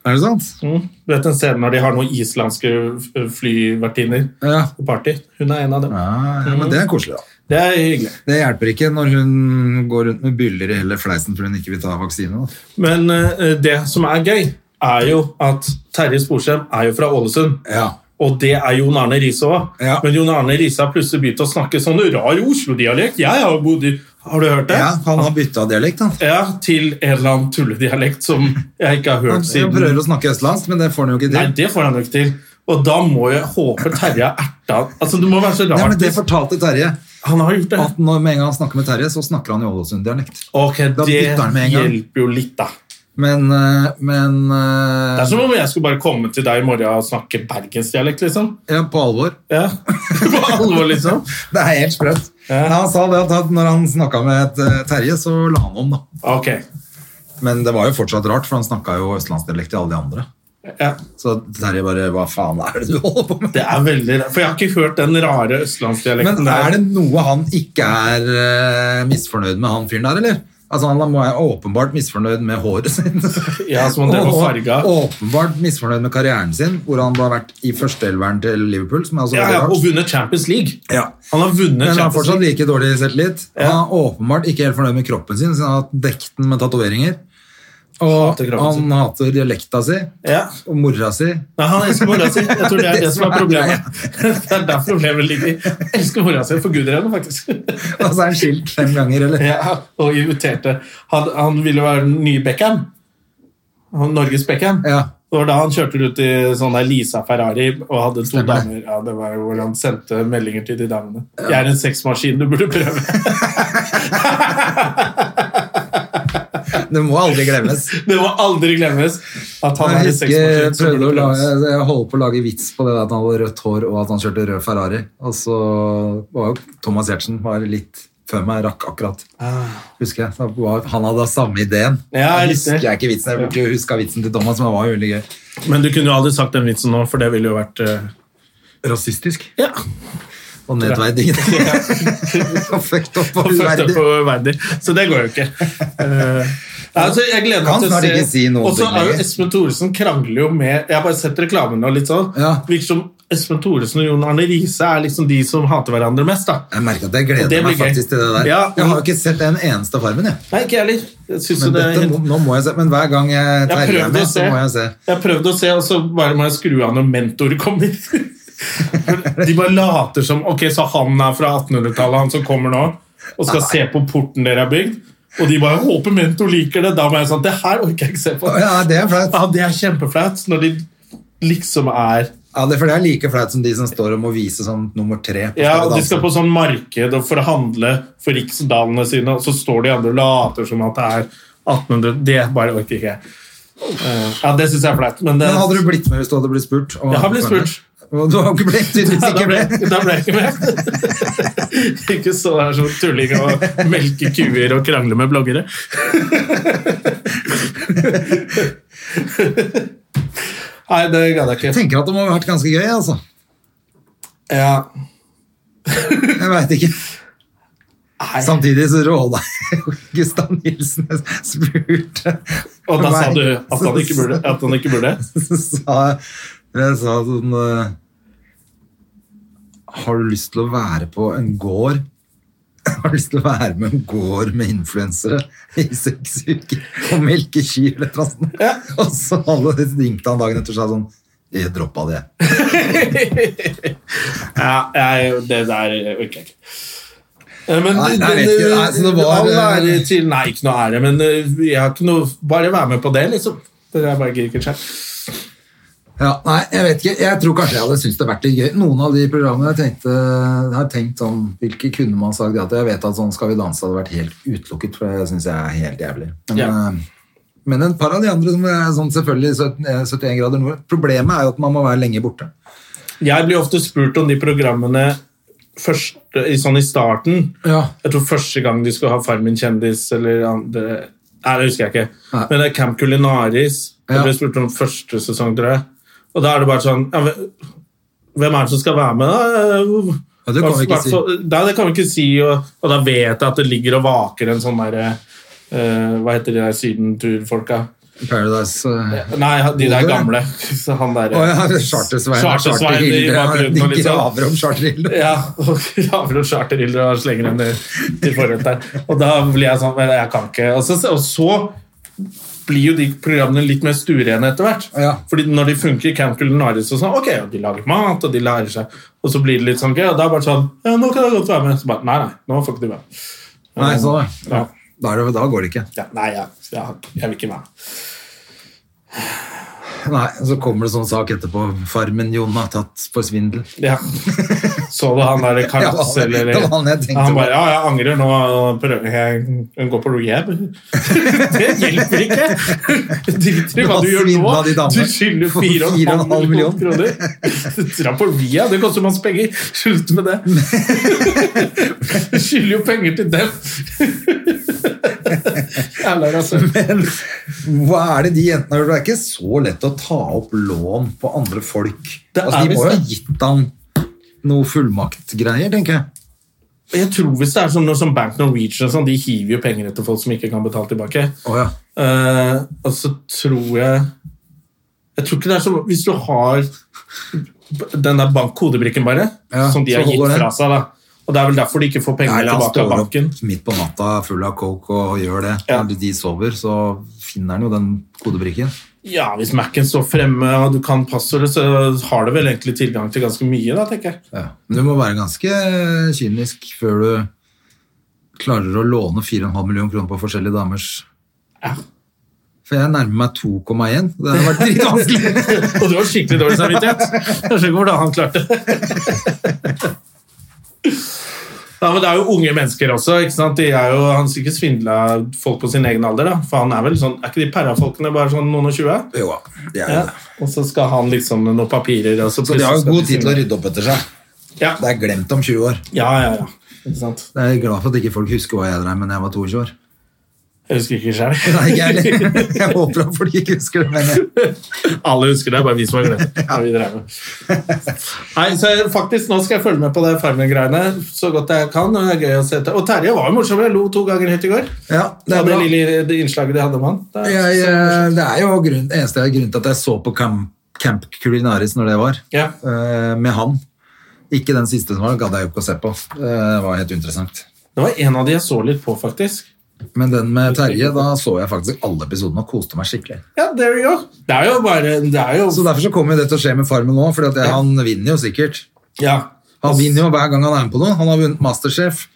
B: Er det sant?
A: Mm. Du vet den scenen når de har noen islandske f- flyvertinner
B: Ja.
A: på party? Hun er en av dem.
B: Ja, ja, men det er koselig, da.
A: Det er hyggelig.
B: Det hjelper ikke når hun går rundt med byller i hele fleisen fordi hun ikke vil ta vaksine. Da.
A: Men eh, det som er gøy, er jo at Terje Sporsem er jo fra Ålesund.
B: Ja.
A: Og det er Jon Arne Riise òg.
B: Ja.
A: Men Jon Arne Riise har plutselig begynt å snakke sånn rar Oslo-dialekt. Jeg har jo bodd i Har du hørt det?
B: ja, han har bytta dialekt, han.
A: Ja, til en eller annen tulledialekt som jeg ikke har
B: Han
A: hørt
B: han
A: siden.
B: prøver å snakke østlandsk, men det får han jo ikke
A: Nei,
B: til.
A: det får han jo ikke til. Og da må jeg håpe Terje er erta Altså, det må være så
B: Ja, men
A: rart.
B: det fortalte Terje.
A: Han har gjort det.
B: At når, med en gang han snakker med Terje, så snakker han jo Ålesund-dialekt.
A: Ok,
B: Da
A: det
B: bytter han med en gang.
A: hjelper jo litt, da.
B: Men, eh, men eh,
A: Det er som om jeg skulle bare komme til deg i morgen og snakke bergensdialekt, liksom.
B: ja, På alvor.
A: Ja. På alvor, liksom.
B: Det er helt sprøtt.
A: Ja.
B: Nei, Han sa det at- at når han snakka med eh, Terje, så la han om, da.
A: Ok.
B: Men det var jo fortsatt rart, for han snakka jo østlandsdialekt til alle de andre.
A: Ja.
B: Så Terje bare Hva faen er det du holder på med?
A: Det er veldig rart, For jeg har ikke hørt den rare østlandsdialekten
B: Men er
A: der.
B: det noe han ikke er eh, misfornøyd med, han fyren der, eller? Altså, Han må være åpenbart misfornøyd med håret sitt.
A: Ja, som han drev og farga.
B: åpenbart misfornøyd med karrieren sin, hvor han har vært i førsteelveren til Liverpool. som er også
A: Ja,
B: veldig
A: ja,
B: rart.
A: og vunnet Champions League.
B: Ja.
A: Han har vunnet
B: Men han har
A: Champions
B: fortsatt
A: League.
B: like dårlig selvtillit.
A: Ja.
B: Han er åpenbart ikke helt fornøyd med kroppen sin, siden han har hatt dekt den med tatoveringer. Og
A: Hater kroppen sin.
B: han hater dialekta si
A: Ja.
B: og mora si.
A: Nei, han elsker mora si. Jeg tror det er det som er problemet. Det er der problemet ligger. Elsker mora si. Forguder henne, faktisk.
B: Og så Altså, er han skilt fem ganger, eller?
A: Ja, og inviterte Han, han ville være den nye Beckham. Han- Norges Beckham.
B: Ja.
A: Det var da han kjørte rundt i sånn der Lisa Ferrari og hadde to
B: Stemmer det.
A: damer. Ja, det var jo hvor han sendte meldinger til de damene. 'Jeg er en sexmaskin, du burde prøve'.
B: Det må aldri glemmes.
A: Det må aldri glemmes at han er en
B: Jeg husker
A: sexmaskin.
B: jeg
A: som
B: prøvde
A: burde
B: å lage,
A: prøves.
B: jeg holdt på å lage vits på det der at han hadde rødt hår og at han kjørte rød Ferrari. Og så var jo Thomas Giertsen var litt før meg, rakk akkurat. Husker jeg. Da var, han hadde samme ideen.
A: Ah. Ja,
B: jeg
A: riktig.
B: husker jeg ikke vitsen. Jeg burde jo huska vitsen til Thomas, men det var jo veldig gøy.
A: Men du kunne jo aldri sagt den vitsen nå, for det ville jo vært eh,
B: Rasistisk.
A: Ja.
B: Og nedverdig. og fucked up og
A: Og fucked up
B: uverdig.
A: og uverdig. Så det går jo ikke. Eh, altså, jeg gleder
B: Kan
A: meg til å
B: snart
A: se
B: ikke si noen
A: Og så
B: ting
A: er jo
B: lenger.
A: Espen Thoresen krangler jo med Jeg har bare sett reklamen og litt sånn.
B: Ja.
A: Virker som Espen Thoresen og Jon Arne Riise er liksom de som hater hverandre mest, da.
B: Jeg merker at jeg
A: Og det
B: gleder
A: blir
B: meg
A: gøy.
B: faktisk til det der.
A: Ja.
B: Jeg har jo ikke sett en eneste Farmen, jeg.
A: Nei, ikke jeg heller. Jeg synes jo
B: Men,
A: det er
B: dette,
A: helt-
B: må- nå må jeg se. men hver gang jeg
A: Jeg
B: terjer
A: prøvde
B: meg,
A: å se.
B: så må jeg se.
A: Jeg prøvde å se, og så bare må jeg skru av når mentor kommer. De bare later som Ok, så han er fra 1800-tallet, han som kommer nå, og skal se på porten dere har bygd. Og de bare 'Jeg håper mentor liker det'. Da var jeg sånn Det her orker jeg ikke se på.
B: Ja, det er flaut.
A: Ja, det er kjempeflaut når de liksom er
B: Ja, det, for det er like flaut som de som står og må vise som nummer tre. på altså.
A: Ja,
B: Skal vi
A: og de
B: danse.
A: skal på sånn marked og for å handle for riksdalene sine, og så står de andre og later som at det er 1800. Det bare orker ikke jeg. Eh, Ja, det syns jeg er flaut, men det
B: Men hadde du blitt med hvis du hadde blitt spurt? og-
A: Jeg har blitt spurt.
B: Og Du har ikke blitt tydeligvis
A: Ja, da
B: ikke
A: ble,
B: blitt.
A: da ble jeg ikke med. ikke stå der som tulling og melke kuer og krangle med bloggere. Nei, det gadd jeg
B: Jeg
A: ikke.
B: tenker at det må ha vært ganske gøy, altså.
A: Ja.
B: Jeg veit ikke.
A: Nei.
B: Samtidig så råda jeg jo Gustav Nilsen jeg spurte
A: Og da sa
B: meg.
A: du at han ikke burde? At han ikke burde.
B: Så sa jeg- jeg sa sånn eh, Har du lyst til å være på en gård? Har du lyst til å være med en gård med influensere i seks uker og melke kyr? eller noe sånt? Og så hadde- ringte han dagen etter og sa sånn Jeg droppa det.
A: Ja, jeg, det der orker jeg ikke. Eh, Men
B: Nei, nei, jeg vet ikke. Nei, så det var- eh,
A: all ære til Nei, ikke noe ære, men eh, jeg har ikke noe Bare vær med på det, liksom. Det der bare gidder ikke skje.
B: Ja, nei, jeg vet ikke. Jeg tror kanskje jeg hadde syntes det vært litt gøy. Noen av de programmene jeg tenkte, jeg har tenkt sånn, hvilke kunne man sagt ja til? Jeg vet at sånn Skal vi danse hadde vært helt utelukket, for det syns jeg er helt jævlig. Men,
A: Ja.
B: eh, men et par av de andre som er sånn selvfølgelig 17, eh, 71 grader nord Problemet er jo at man må være lenge borte.
A: Jeg blir ofte spurt om de programmene først, i, sånn i starten.
B: Ja.
A: Jeg tror første gang de skulle ha Farmen kjendis eller andre Nei, det husker jeg ikke.
B: Nei.
A: Men det er Camp Culinaris. Jeg
B: Ja.
A: ble spurt om første sesong, tror jeg. Og da er det bare sånn ja, men Hvem er det som skal være med, da?
B: Ja, det kan vi ikke si.
A: Hvertfall- Nei, det kan vi ikke si, og, og da vet jeg at det ligger og vaker en sånn derre eh, Hva heter de der sydenturfolka?
B: Paradise eh,
A: Nei, de der
B: Holder.
A: gamle. Så han derre
B: Å ja, Chartersveien.
A: Chartersvein i
B: Charterhilde. Ja,
A: bakgrunnen,
B: De
A: liksom.
B: graver om Charterhilde.
A: Ja, og graver og charterildre og slenger dem ned til forrett der. Og da blir jeg sånn Men jeg kan ikke. Og så, og så blir jo de programmene litt mer stuerene etter hvert.
B: Ja.
A: Fordi når de funker i Camp Culinaris og sånn, ok, og de lager mat, og de lærer seg Og så blir det litt sånn gøy, og da er det bare sånn Ja, nå kan jeg godt være med. Så bare Nei, nei, nå får ikke du være med.
B: Nei, sånn,
A: Ja.
B: Da, er det, da går det ikke.
A: Ja, nei, jeg, jeg, jeg vil ikke være med.
B: Nei, Så kommer det sånn sak etterpå. Farmen Jon har tatt for svindel.
A: Ja. Så du han der
B: Ja, det
A: Karls,
B: var-
A: eller
B: det var han jeg tenkte
A: Han
B: på.
A: bare Ja, jeg angrer, nå prøver jeg å gå på rehab. det hjelper ikke! Driter i hva
B: Du har
A: du gjør nå.
B: svindlet de damene
A: Du skylder
B: for
A: 4,5
B: 4,5
A: millioner
B: million.
A: kroner. Dra på rehab, det koster masse penger. Slutt med det. Du skylder jo penger til dem. Jævla rasshøl.
B: Men hva er det de jentene har gjort? Det er ikke så lett å ta opp lån på andre folk.
A: Det
B: altså,
A: er
B: de
A: visst
B: må jo ha
A: det.
B: gitt han noe fullmaktgreier, tenker jeg.
A: Jeg tror hvis det er sånn noe som Bank Norwegian og sånn, de hiver jo penger etter folk som ikke kan betale tilbake.
B: Å ja.
A: Eh, og så tror jeg Jeg tror ikke det er så Hvis du har den der bank- kodebrikken bare,
B: Ja,
A: som de
B: så
A: har gitt
B: holder den.
A: fra seg, da. Og det er vel derfor de ikke får penger
B: Nei, han
A: tilbake av
B: står opp
A: banken.
B: midt på natta full av coke og gjør det.
A: Ja.
B: Når de sover, så finner han jo den kodebrikken.
A: Ja, hvis Mac-en står fremme og du kan passordet, så har du vel egentlig tilgang til ganske mye, da, tenker jeg.
B: Ja. Men du må være ganske kynisk før du klarer å låne 4,5 millioner kroner på forskjellige damers
A: Ja.
B: For jeg nærmer meg 2,1. Det har vært dritvanskelig.
A: Og du har skikkelig dårlig samvittighet. Jeg skjønner ikke hvordan han klarte det. Ja, men Det er jo unge mennesker også. ikke sant? De er jo, Han sikkert svindla folk på sin egen alder. da. For han Er vel sånn, er ikke de perra-folkene bare sånn noen og tjue?
B: jo, det er jo
A: Ja.
B: det.
A: Og så skal han liksom med noen papirer og så
B: Så de har jo
A: plutselig
B: god
A: skal
B: tid til å rydde opp etter seg.
A: Ja,
B: Det er glemt om 20 år.
A: ja, ja. ja. Ikke sant?
B: Jeg er glad for at ikke folk husker hva jeg drev med da jeg var 22 år.
A: Jeg husker ikke
B: Nei,
A: sjøl.
B: ikke jeg heller. Jeg håper at folk ikke husker det, men jeg
A: Alle husker det, bare vi som har glemt det. Ja, vi drev med. Nei, så jeg- faktisk, Nå skal jeg følge med på det Farmen-greiene så godt jeg kan. Og det er gøy å se til. Og Terje var jo morsom. Jeg lo to ganger høyt i går.
B: Ja, det er
A: det,
B: bra.
A: lille det innslaget de hadde om han. Det er-
B: Jeg, eh, det er jo grunn, eneste jeg har grunn til at jeg så på Camp, Camp Culinaris når det var,
A: Ja.
B: eh, med han. Ikke den siste som var, gadd jeg jo ikke å se på. Eh, Det var helt interessant.
A: Det var en av de jeg så litt på, faktisk.
B: Men den med Terje, da så jeg faktisk alle episodene og koste meg skikkelig.
A: Ja, there you go. Det er jo bare det er jo,
B: Så derfor så kommer jo det til å skje med Farmen nå, for
A: Ja.
B: han vinner jo sikkert.
A: ja.
B: Han vinner jo hver gang han er med på noe. Han har vunnet Masterchef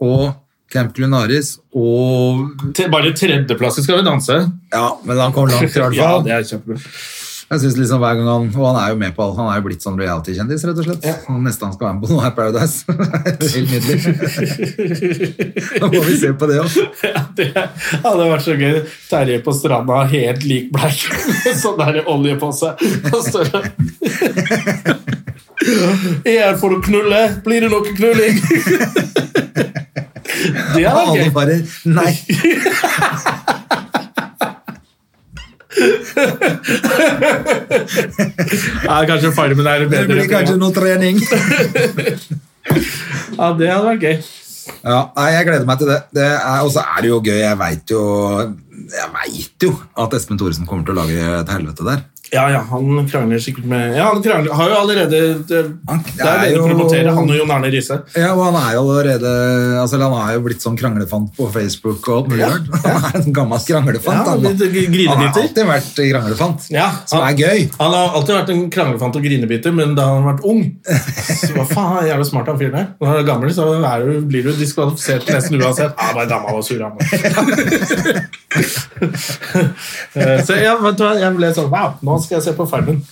B: og Camp Culinaris og
A: Til- Bare tredjeplass i Skal vi danse.
B: Ja, men han kom langt i hvert
A: Ja,
B: fall.
A: det er kjempebra.
B: Jeg synes liksom hver gang han, Og han er jo med på alt. Han er jo blitt sånn reality-kjendis, rett og slett. Og neste han skal være med på nå, er Paradise. Det er Helt nydelig. Da må vi se på det òg.
A: Ja, det hadde vært så gøy. Terje på stranda helt lik bleik med sånn der olje på seg. Og står og- Igjen får du knulle. Blir det noe knulling? Det
B: Og
A: hadde
B: alle
A: vært gøy.
B: bare Nei!
A: Ja, kanskje farmen er
B: Det blir kanskje
A: bedre.
B: noe trening.
A: Ja, det hadde vært gøy.
B: Ja, nei, jeg gleder meg til det. det er, og så er det jo gøy. Jeg veit jo Jeg vet jo at Espen Thoresen kommer til å lage et helvete der.
A: Ja, ja, han krangler sikkert med Ja, han krangler, har jo allerede Det,
B: Han-
A: det er
B: det er
A: jo
B: jo-
A: promotere, han og Jon Arne Riise.
B: Ja, og han er jo allerede altså, eller Han er jo blitt sånn kranglefant på Facebook og alt mulig rart. Han er en gammel
A: Ja,
B: kranglefant. han,
A: litt
B: da.
A: grinebiter.
B: han har alltid vært kranglefant,
A: Ja,
B: som er gøy.
A: Han har alltid vært en kranglefant og grinebiter, men da han har vært ung Så hva faen, han er jævla smart han fyren der. Når han er gammel, så er du, blir du diskvalifisert nesten uansett. Ja, bare dama var sur, han. Eh, så jeg, vet du hva, jeg ble sånn Wow, nå skal jeg se på Farmen.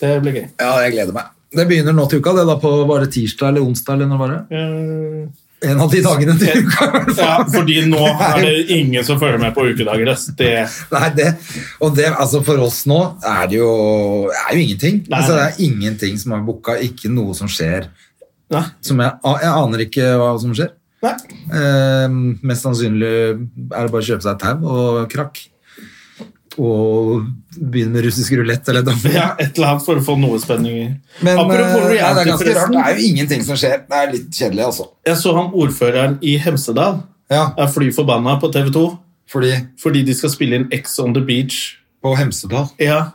A: Det blir gøy.
B: Ja, jeg gleder meg. Det begynner nå til uka, det da på bare tirsdag eller onsdag eller når var det?
A: Eh,
B: En av de dagene til uka. i hvert
A: Ja,
B: fall.
A: fordi nå er det ingen som følger med på ukedager. ass. Det,
B: Nei, det, og det, altså for oss nå er det jo, er jo ingenting.
A: Nei,
B: altså, det
A: nei.
B: er ingenting som er booka, ikke noe som skjer.
A: nei,
B: Som jeg, a- jeg aner ikke hva som skjer.
A: nei.
B: Ehm, Eh, mest sannsynlig er det bare å kjøpe seg tau og krakk. og begynne med russisk rulett eller noe.
A: Ja, et eller annet for å få noe spenning i.
B: Men
A: Apropos
B: eh, ja, det er ganske rart.
A: reality-forresten.
B: Det er jo ingenting som skjer. Det er litt kjedelig, altså.
A: Jeg så han ordføreren i Hemsedal
B: Ja,
A: er fly forbanna på TV 2
B: fordi
A: fordi de skal spille inn X on the beach.
B: på Hemsedal
A: Ja.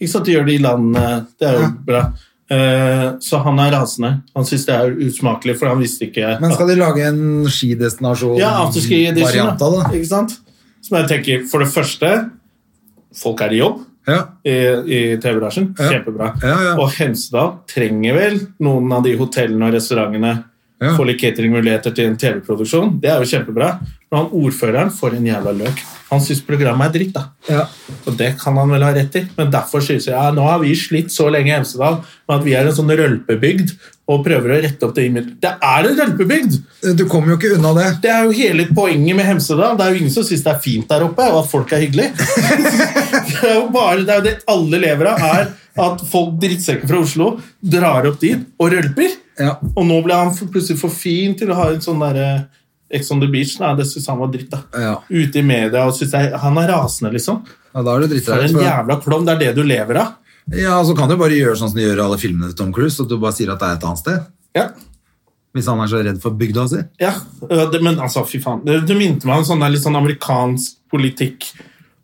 A: Ikke sant, de gjør det i landene. Det er jo
B: Ja.
A: bra. Eh, så han er rasende. Han syns det er usmakelig, for han visste ikke
B: Men skal
A: at-
B: de lage en skidestinasjon
A: ja, afterski edition,
B: variant av
A: da.
B: det?
A: Ikke sant? Som jeg tenker, for det første Folk er i jobb
B: Ja.
A: i, i TV-bransjen.
B: Ja.
A: Kjempebra.
B: Ja, ja.
A: Og Hemsedal trenger vel noen av de hotellene og restaurantene.
B: Ja.
A: Får litt cateringmuligheter til en TV-produksjon. Det er jo kjempebra. Men han ordføreren får en jævla løk. Han syns programmet er dritt, da.
B: Ja.
A: Og det kan han vel ha rett i, men derfor synes jeg ja, nå har vi slitt så lenge i Hemsedal med at vi er en sånn rølpebygd og prøver å rette opp det imidlet. Det er en rølpebygd!
B: Du kommer jo ikke unna det.
A: Det er jo hele poenget med Hemsedal. Det er jo ingen som syns det er fint der oppe, og at folk er hyggelige. det er jo bare det, er jo det alle lever av, er at folk drittsekker fra Oslo drar opp dit og rølper.
B: Ja.
A: Og nå ble han for- plutselig for fin til å ha en sånn derre Ex on the beach. Nei, det syns han var dritt, da.
B: Ja.
A: Ute i media og syns jeg Han er rasende, liksom.
B: Ja, da er du
A: For
B: drittreis.
A: en jævla klovn. Det er det du lever av.
B: Ja, så kan du bare gjøre sånn som de gjør i alle filmene til Tom Cruise, at du bare sier at det er et annet sted.
A: Ja.
B: Hvis han er så redd for bygda si.
A: ja. øh, det- Men altså, fy faen. Det, det minte meg om sånn der litt sånn amerikansk politikk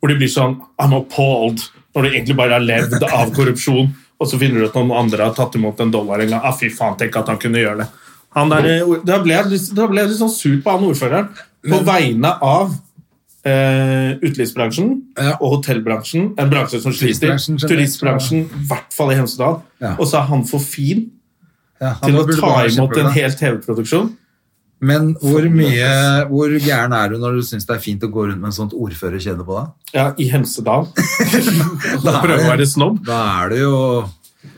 A: hvor de blir sånn I'm appalled når du egentlig bare har levd av korrupsjon, og så finner du ut at noen andre har tatt imot en dollar en gang. Ah, fy faen, tenk at han kunne gjøre det. Han der, øh, da, ble jeg, litt- da ble jeg litt sånn sur på han ordføreren på vegne av Eh, utelivsbransjen
B: Ja.
A: og hotellbransjen, en bransje som sliter.
B: Turistbransjen generelt.
A: Turistbransjen, i hvert fall i Hemsedal.
B: Ja.
A: Og så er han for fin
B: Ja, han
A: til å
B: burde
A: ta
B: bare
A: imot
B: kjempe
A: en
B: det.
A: hel TV-produksjon.
B: Men hvor mye, hvor gæren er du når du syns det er fint å gå rundt med en sånt ordførerkjede på deg?
A: Ja, i Hemsedal.
B: Da
A: Da
B: er
A: prøver jeg å være
B: det-
A: snobb.
B: Da er du jo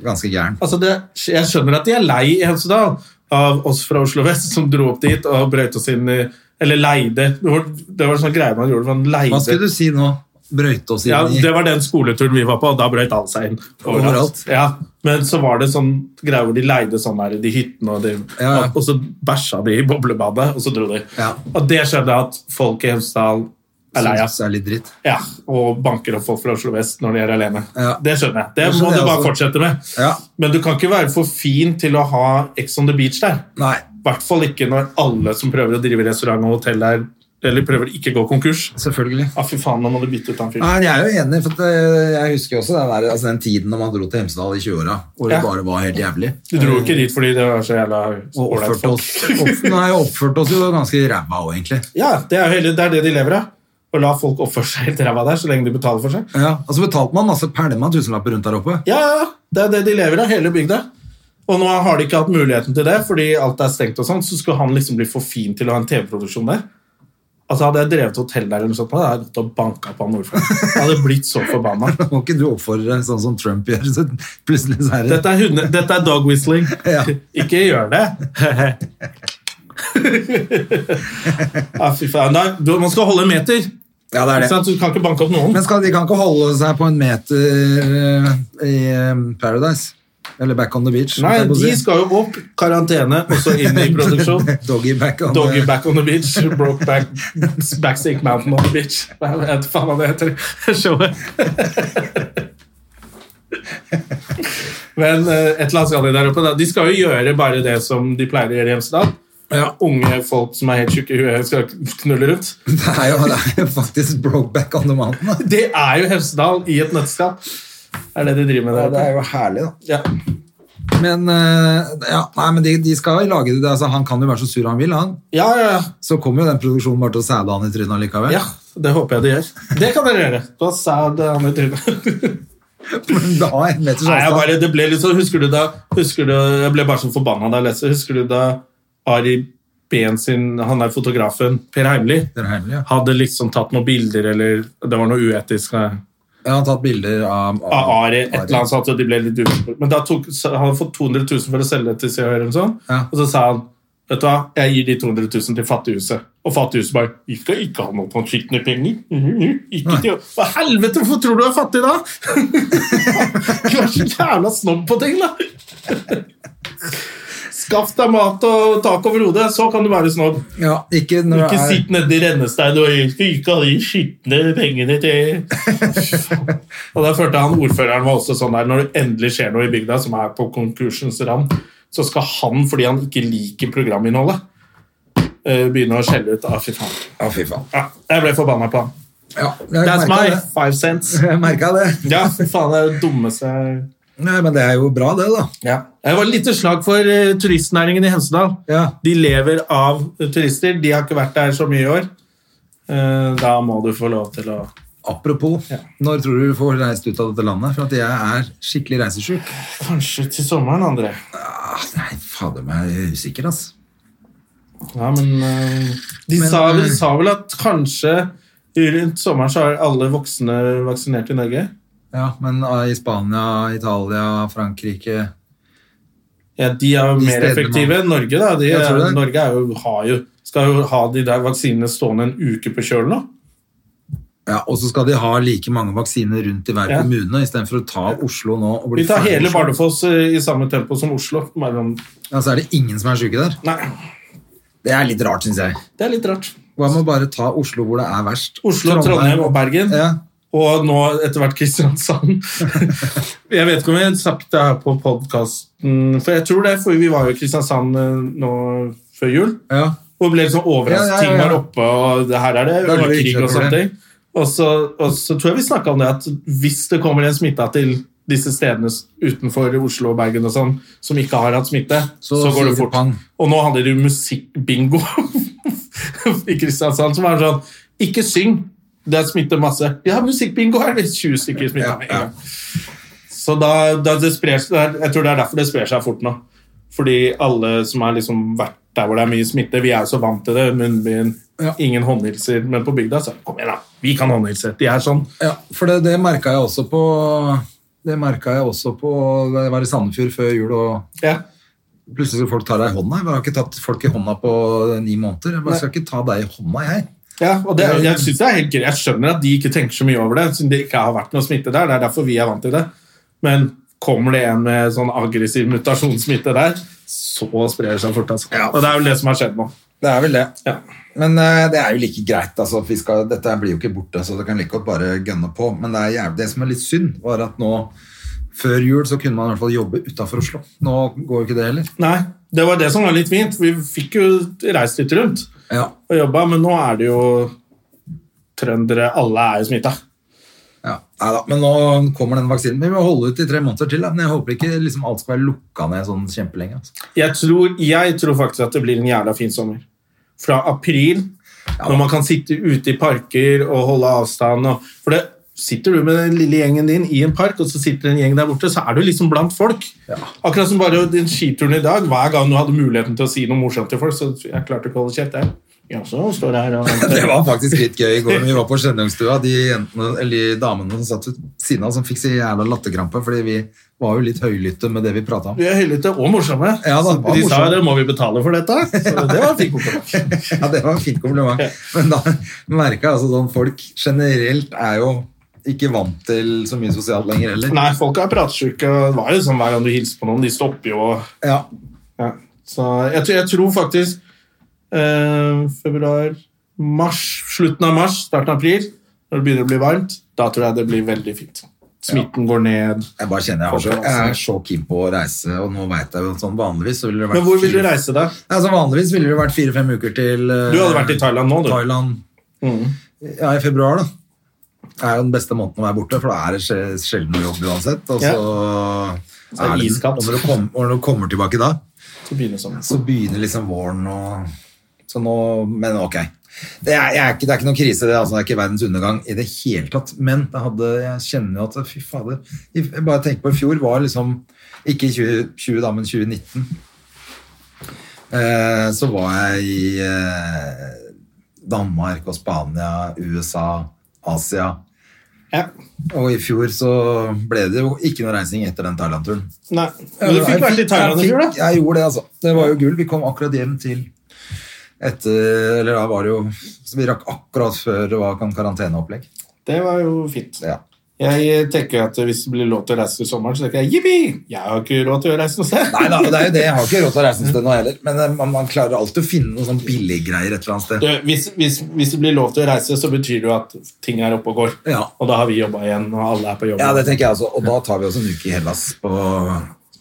B: ganske gæren.
A: Altså det, jeg skjønner at de er lei i Hemsedal av oss fra Oslo Vest som dro opp dit og brøyt oss inn i Eller leide. Det var, det var en sånn greie man gjorde. Man
B: Hva
A: leide.
B: skulle du si nå? Brøyte oss inn
A: Ja,
B: i
A: Det var den skoleturen vi var på, og da brøyt alle seg inn.
B: Overalt.
A: Ja, Men så var det sånn greie hvor de leide sånn her, de hyttene, og, de,
B: Ja, ja.
A: og, og så bæsja de i boblebadet, og så dro de.
B: Ja.
A: Og det skjønner jeg at folk i Hemsedal er lei av.
B: Synes det er litt dritt.
A: Ja, og banker opp folk fra Oslo Vest når de er alene.
B: Ja.
A: Det skjønner jeg. Det,
B: Det skjønner
A: må
B: jeg
A: du bare
B: også.
A: fortsette med.
B: Ja.
A: Men du kan ikke være for fin til å ha Ex on the beach der.
B: Nei.
A: I hvert fall ikke når alle som prøver å drive restaurant og hotell der, eller prøver å ikke gå konkurs.
B: Selvfølgelig.
A: Ja, fy faen, nå må du bytte ut han fyren.
B: Nei, jeg er jo enig, for at, eh, jeg husker jo også den, der, altså den tiden når man dro til Hemsedal i 20-åra, hvor
A: Ja.
B: det bare var helt jævlig.
A: Du dro ikke dit fordi det var så jævla
B: Og
A: ålreit
B: oppførte
A: folk.
B: oss, opp, nei, oppførte oss jo ganske ræva òg, egentlig.
A: Ja, det er, jo hele, det er det de lever av. Å la folk oppføre seg helt ræva der så lenge de betaler for seg.
B: Ja, Og så betalte man masse pælma tusenlapper rundt der oppe.
A: Ja, ja, ja, det er det de lever av, hele bygda. Og nå har de ikke hatt muligheten til det, fordi alt er stengt og sånn, så skulle han liksom bli for fin til å ha en TV-produksjon der. Altså Hadde jeg drevet hotell der, eller noe sånt, da hadde jeg gått og banka på han ordføreren. Jeg hadde blitt så forbanna.
B: Må ikke du oppfordre sånn som Trump gjør? Så plutselig så er det
A: Dette er, hunde, dette er dog whistling.
B: Ja.
A: Ikke gjør det. ja, Ah, fy faen. Nei, du, man skal holde en meter.
B: Ja, det
A: Ikke sant? Så Du kan ikke banke opp noen.
B: Men skal, de kan ikke holde seg på en meter eh, i eh, Paradise? Eller Back on the Beach?
A: Nei,
B: holdt
A: de
B: jeg på å
A: skal jo opp. Karantene, og så inn i produksjon.
B: si. Doggy back on
A: Doggy
B: the
A: back on the beach, broke back, backstick mountain on the beach. Nei, Jeg vet faen hva det heter showet. Men eh, et eller annet skal de der oppe. Da. De skal jo gjøre bare det som de pleier å gjøre i Hemsedal. Unge folk som er helt tjukke i huet, skal knulle rundt.
B: Det er jo, det er jo faktisk broke back on the mountain. Da.
A: Det er jo Hemsedal i et nøtteskall. Det er det de driver med der.
B: det
A: oppe.
B: er jo herlig, da.
A: Ja.
B: Men, eh, ja, nei, men de, de skal lage det. Altså, han kan jo være så sur han vil, han.
A: Ja, ja, ja.
B: Så kommer jo den produksjonen bare til å sæde han i trynet allikevel.
A: ja, det håper jeg de gjør. Det kan dere gjøre. eh, Da sa det han i trynet.
B: Men da er en meters
A: Nei, jeg
B: avstand.
A: bare, det ble litt sånn, husker du da husker du, Jeg ble bare sånn forbanna da jeg leste Husker du da Ari Ben sin, han der fotografen, Per Heimli,
B: Det er hemmelig, ja.
A: hadde liksom tatt noen bilder, eller det var noe uetisk nei,
B: Jeg har tatt bilder av,
A: av Ari, et eller annet sånt, og de ble litt uvenner. Men da tok, så han hadde fått 200 000 for å selge det til Se og Hør, eller noe sånt,
B: Ja.
A: og så sa han Vet du hva, jeg gir de 200 000 til Fattighuset. Og Fattighuset bare Vi skal ikke ha noe sånt skitne penger. Ikke til å Hva helvete, hvorfor tror du jeg er fattig da?! du er så jævla snobb på ting, da! Skaff deg mat og tak over hodet, så kan du være snobb.
B: Ja, ikke når
A: Ikke
B: det
A: sitt nedi rennesteinen og jeg skal ikke ha de skitne pengene til Og der følte jeg han ordføreren var også sånn der, når det endelig skjer noe i bygda som er på konkursens rand, så skal han, fordi han ikke liker programinnholdet, eh, begynne å skjelle ut. Ah, fy faen.
B: er Ja, fy faen.
A: Ja, jeg ble forbanna på han.
B: Ja, jeg
A: That's
B: merket
A: my
B: det.
A: five cents.
B: Jeg merka det.
A: Ja, fy faen, det er det dummeste jeg-
B: Nei, men det er jo bra, det, da.
A: Jeg var litt til slag for eh, turistnæringen i Hemsedal.
B: Ja.
A: De lever av eh, turister. De har ikke vært der så mye i år. Eh, Da må du få lov til å
B: Apropos, når tror du du får reist ut av dette landet? For at jeg er skikkelig reisesjuk.
A: Kanskje til sommeren, André.
B: Ah, nei, fader meg, jeg er usikker, ass.
A: Ja, men eh, De
B: Men,
A: sa, vel,
B: eh,
A: sa vel at kanskje rundt sommeren så er alle voksne vaksinert i Norge.
B: Ja, men ah, i Spania, Italia, Frankrike
A: Ja, De er jo
B: De
A: mer
B: stedene
A: effektive enn Norge. da. De,
B: Jeg tror det.
A: er- Norge er jo, har jo, skal jo ha de der vaksinene stående en uke på kjølen nå.
B: Ja, Og så skal de ha like mange vaksiner rundt i hver
A: Ja.
B: kommune, istedenfor å ta Oslo nå. Og bli
A: Vi tar
B: ferdig
A: hele
B: med Oslo.
A: Bardufoss eh, i samme tempo som Oslo. Bare om-
B: Ja, Så er det ingen som er syke der.
A: Nei,
B: Det er litt rart, syns jeg.
A: det er litt rart.
B: Hva med å bare ta Oslo hvor det er verst?
A: Oslo, Trondheim og Bergen.
B: Ja.
A: Og nå etter hvert Kristiansand. jeg vet ikke om jeg har sagt det her på podkasten, for jeg tror det, for vi var jo i Kristiansand eh, nå før jul.
B: ja.
A: Og ble litt sånn overrasket.
B: Ja, ja, ja,
A: Ting
B: ja.
A: var oppe, og det her er det.
B: Da er det
A: og
B: vi
A: krig og
B: kjøper
A: sånne
B: det.
A: ting. Og så, og så tror jeg vi snakka om det at hvis det kommer en smitta til disse stedene s- utenfor Oslo og Bergen og sånn, som ikke har hatt smitte, så,
B: Så
A: går det
B: sier du
A: fort.
B: pang.
A: Og nå handler det jo musikkbingo i Kristiansand, som er sånn Ikke syng! Det er smitte masse. Ja, musikkbingo er det 20 stykker smitta med. en gang. Så da, da det sprer, seg- det er- jeg tror det er derfor det sprer seg fort nå. Fordi alle som har liksom vært der hvor det er mye smitte, vi er jo så vant til det. Munnbind,
B: Ja.
A: ingen håndhilser. Men på bygda så kom igjen, da. Vi kan håndhilse. De er sånn.
B: Ja, for det, det merka jeg også på Det merka jeg også på da jeg var i Sandefjord før jul, og
A: Ja.
B: plutselig skal folk ta deg i hånda. Jeg har ikke tatt folk i hånda på ni måneder. Jeg bare
A: Nei.
B: skal ikke ta deg i hånda, jeg.
A: Ja, og det, er- jeg synes det er helt greit. Jeg skjønner at de ikke tenker så mye over det, siden det ikke har vært noe smitte der. Det er derfor vi er vant til det. Men kommer det en med sånn aggressiv mutasjonssmitte der, så sprer det seg fort. Altså.
B: Ja.
A: Og det er jo det som har skjedd nå.
B: Det er vel det.
A: Ja.
B: Men eh, det er jo like greit. Altså, vi skal, dette blir jo ikke borte, så det kan like godt bare gønne på. Men det, er jævlig, det som er litt synd, var at nå før jul så kunne man i hvert fall jobbe utafor Oslo. Nå går jo ikke det heller.
A: Nei, det var det som var litt fint. Vi fikk jo reist litt rundt
B: Ja,
A: og jobba, men nå er det jo trøndere Alle er jo smitta.
B: ja. Neida, Men nå kommer den vaksinen. Vi må holde ut i tre måneder til. Da. Men jeg håper ikke liksom, alt skal være lukka ned sånn kjempelenge. Altså.
A: Jeg tror, jeg tror faktisk at det blir en jævla fin sommer. Fra april, når man kan sitte ute i parker og holde avstand. Og, for det, sitter du med den lille gjengen din i en park, og så sitter det en gjeng der borte, så er du liksom blant folk. Akkurat som bare den skituren i dag. Hver gang du hadde muligheten til å si noe morsomt til folk, så jeg klarte ikke å holde kjeft. Jeg. Ja, så står jeg her og
B: Det var faktisk litt gøy i går. Vi var på Skjønnungstua. De, jentene- eller de damene som satt ved siden av, som fikk så jævla latterkrampe. Fordi vi var jo litt høylytte med det vi prata om.
A: Vi er høylytte og morsomme.
B: Ja, da, var
A: de sa
B: morsomme.
A: det må vi betale for dette. Så det var en fin kompliment.
B: Ja, det var en fin kompliment. Men da merka jeg altså sånn folk generelt er jo ikke vant til så mye sosialt lenger heller.
A: Nei, folk er pratsjuke. og Det var jo sånn hver gang du hilser på noen. De stopper jo og
B: Ja,
A: ja. Så jeg, tror- jeg tror faktisk eh, februar, mars, slutten av mars, starten av april, når det begynner å bli varmt, da tror jeg det blir veldig fint. Smitten går ned.
B: jeg bare kjenner jeg, har så,
A: altså.
B: jeg er så keen på å reise, og nå veit jeg jo at sånn vanligvis så ville det vært
A: Men hvor vil du
B: fire-
A: reise da?
B: Nei, så vanligvis ville det vært fire-fem uker til eh,
A: Du hadde vært i Thailand nå, du.
B: Thailand.
A: Mm,
B: Ja, i februar, da. Det er jo den beste måneden å være borte, for da er det sj- sjelden noe jobb uansett. Og så,
A: Ja.
B: er det,
A: iskaldt.
B: og når du, kom, og når du kommer tilbake da,
A: Så begynner sommeren.
B: så begynner liksom våren og så nå, Men ok. Det er, jeg er ikke, det er ikke noen krise, det, altså, det er ikke verdens undergang i det hele tatt. Men det hadde, jeg kjenner jo at fy fader i- jeg Bare tenk på i fjor var liksom Ikke i 2020, da, men 2019. Eh, så var jeg i eh, Danmark og Spania, USA, Asia.
A: Ja.
B: Og i fjor så ble det jo ikke noe reising etter den Thailand-turen.
A: Nei. Men du
B: Jeg
A: fikk vært i Thailand i
B: jeg
A: fjor, da.
B: fikk- Jeg gjorde det, altså. Det var jo gull. Vi kom akkurat hjem til etter Eller da var det jo så Vi rakk akkurat før det var kan- karanteneopplegg.
A: Det var jo fint.
B: Ja.
A: Jeg tenker at hvis det blir lov til å reise til sommeren, så tenker jeg jippi! Jeg har ikke råd til å reise noe sted.
B: Nei da, og det er jo det. Jeg har ikke råd til å reise noe sted nå heller. Men eh, man, man klarer alltid å finne noen sånn billiggreier et eller annet
A: Du,
B: sted.
A: Eh, hvis, hvis, hvis det blir lov til å reise, så betyr det jo at ting er oppe og går.
B: Ja.
A: Og da har vi jobba igjen, og alle er på jobb.
B: Ja, det tenker jeg også. Og da tar vi oss en uke i Hellas på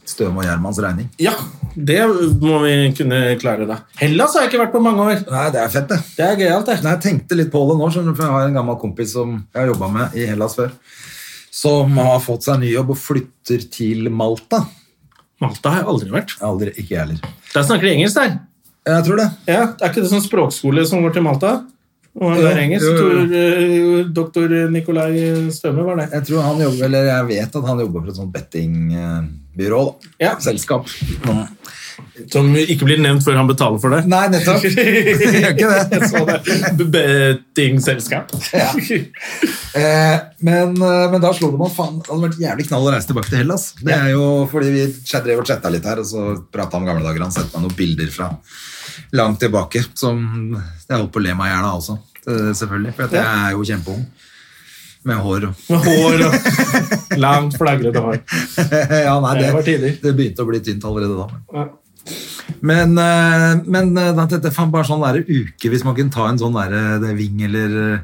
B: Støme og Gjermans regning.
A: Ja, det må vi kunne klare, da. Hellas har jeg ikke vært på mange år.
B: Nei, det er fett, det.
A: Det er gøyalt, det.
B: Nei, jeg tenkte litt på det nå, skjønner du, for jeg har en gammel kompis som jeg har jobba med i Hellas før, som har fått seg ny jobb og flytter til Malta.
A: Malta har jeg aldri vært.
B: Aldri, ikke jeg heller.
A: Der snakker de engelsk, der.
B: Jeg tror det.
A: Ja, Er ikke det sånn språkskole som går til Malta? Og han
B: Jo,
A: lærer engelsk.
B: jo, jo.
A: Tor, eh, Doktor Nikolai Støme var det.
B: Jeg tror han jobber, eller jeg vet at han jobber for et sånt bettingbyrå, da.
A: Ja.
B: Selskap.
A: Som ikke blir nevnt før han betaler for det.
B: Nei, nettopp. Jeg gjør ikke det.
A: Jeg så det. Bettingselskap.
B: Ja. Eh, men, eh, men da slo det meg faen, det hadde vært jævlig knall å reise tilbake til Hellas. Det er jo fordi vi chat- drev og chatta litt her, og så prata om gamle dager. Han sendte meg noen bilder fra langt tilbake som jeg holdt på å le meg i hjel av også. Eh, Selvfølgelig, for at jeg er jo kjempeung. Med hår og
A: Med hår og langt, flagrete hår.
B: Ja, nei,
A: Det var
B: det,
A: tider.
B: det begynte å bli tynt allerede da. men-
A: Ja.
B: Men, eh, men eh, da tenkte jeg faen, bare sånn der uke, hvis man kunne ta en sånn der eh, det Ving eller eh,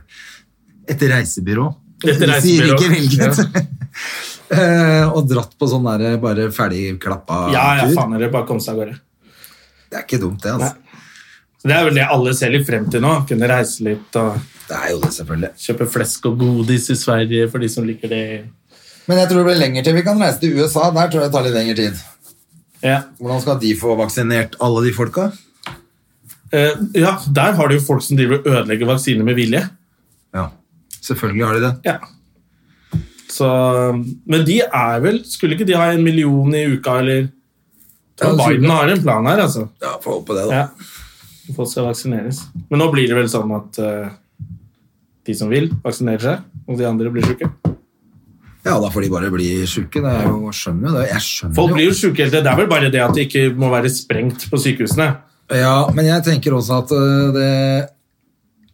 B: et reisebyrå.
A: Et
B: Vi sier
A: reisebyrå.
B: ikke hvilket. Eh, og dratt på sånn der eh, bare ferdig klappa
A: Ja, ja,
B: tur.
A: faen dere, bare kom seg av gårde.
B: Det er ikke dumt, det. altså.
A: Så Det er vel det alle ser litt frem til nå. Kunne reise litt og
B: Det er jo det, selvfølgelig.
A: kjøpe flesk og godis i Sverige for de som liker det.
B: Men jeg tror det blir lenger til vi kan reise til USA. Der tror jeg det tar litt lengre tid.
A: Ja,
B: Hvordan skal de få vaksinert alle de folka?
A: Eh, ja der har du jo folk som driver og ødelegger vaksiner med vilje.
B: Ja, selvfølgelig har de det.
A: Ja. Så, men de er vel Skulle ikke de ha en million i uka, eller Tror
B: Ja,
A: Biden har en plan her, altså.
B: Ja, Få holde på det, da.
A: Ja. Folk skal vaksineres. Men nå blir det vel sånn at eh, de som vil, vaksinerer seg, og de andre blir sjuke.
B: Ja, da får de bare bli sjuke. Det er jo, jeg skjønner jo det. Jeg skjønner
A: Folk
B: jo.
A: blir jo sjuke hele tiden. Det er vel bare det at det ikke må være sprengt på sykehusene.
B: Ja, men jeg tenker også at øh, det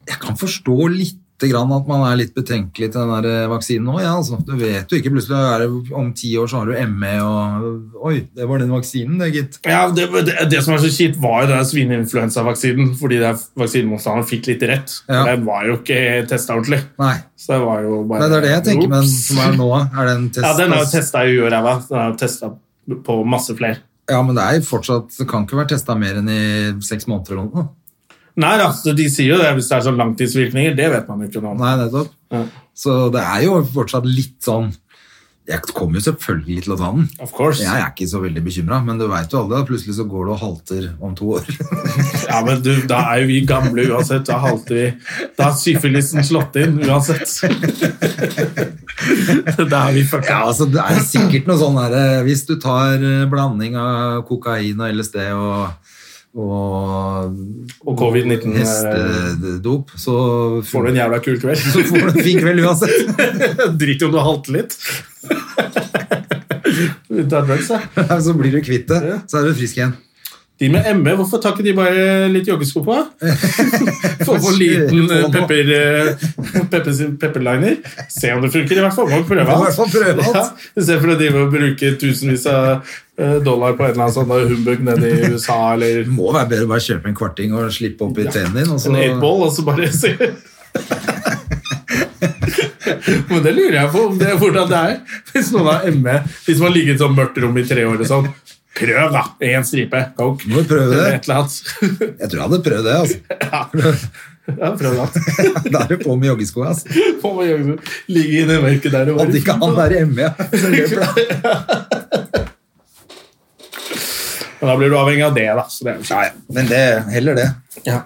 B: Jeg kan forstå lite grann at man er litt betenkelig til den der øh, vaksinen nå. Ja, altså. Du vet jo ikke. Plutselig er det om ti år så har du ME og øh, Oi, det var den vaksinen, det, gitt.
A: Ja, det, det, det som er så kjipt, var jo den svineinfluensavaksinen, fordi der vaksinemotstanderen fikk litt rett.
B: Ja.
A: Den var jo ikke testa ordentlig.
B: Nei.
A: Så det var jo bare
B: Nei, det er det jeg tenker, men
A: Ops.
B: som er nå, er den test...
A: Ja, den har jo testa i huet og ræva. Den har jo testa på masse flere.
B: Ja, men det er fortsatt Det kan ikke være testa mer enn i seks måneder eller noe.
A: Nei, altså, de sier jo det hvis det er sånn langtidsvirkninger. Det vet man jo ikke noe om.
B: Nei, nettopp.
A: Ja.
B: Så det er jo fortsatt litt sånn Jeg kommer jo selvfølgelig til å ta den.
A: Of course.
B: Jeg er ikke så veldig bekymra, men du veit jo aldri. da. Plutselig så går du og halter om to år.
A: Ja, men du, da er jo vi gamle uansett. Da halter vi. Da har syfilisen slått inn uansett. Da er vi fucka.
B: Ja, altså Det er sikkert noe sånn derre Hvis du tar eh, blanding av kokain og LSD og, og
A: Og covid-19 eh,
B: hestedop, så
A: får du en jævla kul
B: så
A: kveld.
B: får du en fin kveld uansett.
A: Drit i om du halter litt. Du tar drugs, da.
B: Så blir du kvitt det, så er du frisk igjen.
A: De med ME, hvorfor tar ikke de bare litt joggesko på? Få på liten eh, pepper, eh, pepper, pepperliner. Se om det funker. I hvert fall må vi prøve
B: Må i hvert fall prøve alt.
A: Ja, I stedet for å drive og bruke tusenvis av eh, dollar på en eller annen sånn humbug nede i USA eller
B: Det må være bedre å bare kjøpe en kvarting og slippe opp i tennene
A: en
B: altså. din. Og så,
A: Sånn eightball, og så bare se. Men det lurer jeg på om det, hvordan det er. Hvis noen har ME, hvis man ligger i et sånt mørkt rom i tre år og sånn. Prøv, da! Én stripe coke.
B: Må jo prøve det.
A: Eller et eller annet.
B: jeg tror jeg hadde prøvd det. altså.
A: Ja, prøv det.
B: Da er du på med joggesko. Altså.
A: Må man gjøre det. Ligge i det mørket der og
B: Hadde ikke han
A: bare
B: vært hjemme, ja. så løper han.
A: Men Da blir du avhengig av det, da. Så det er jo
B: Ja, ja. Men det, heller det.
A: kjipt. Ja.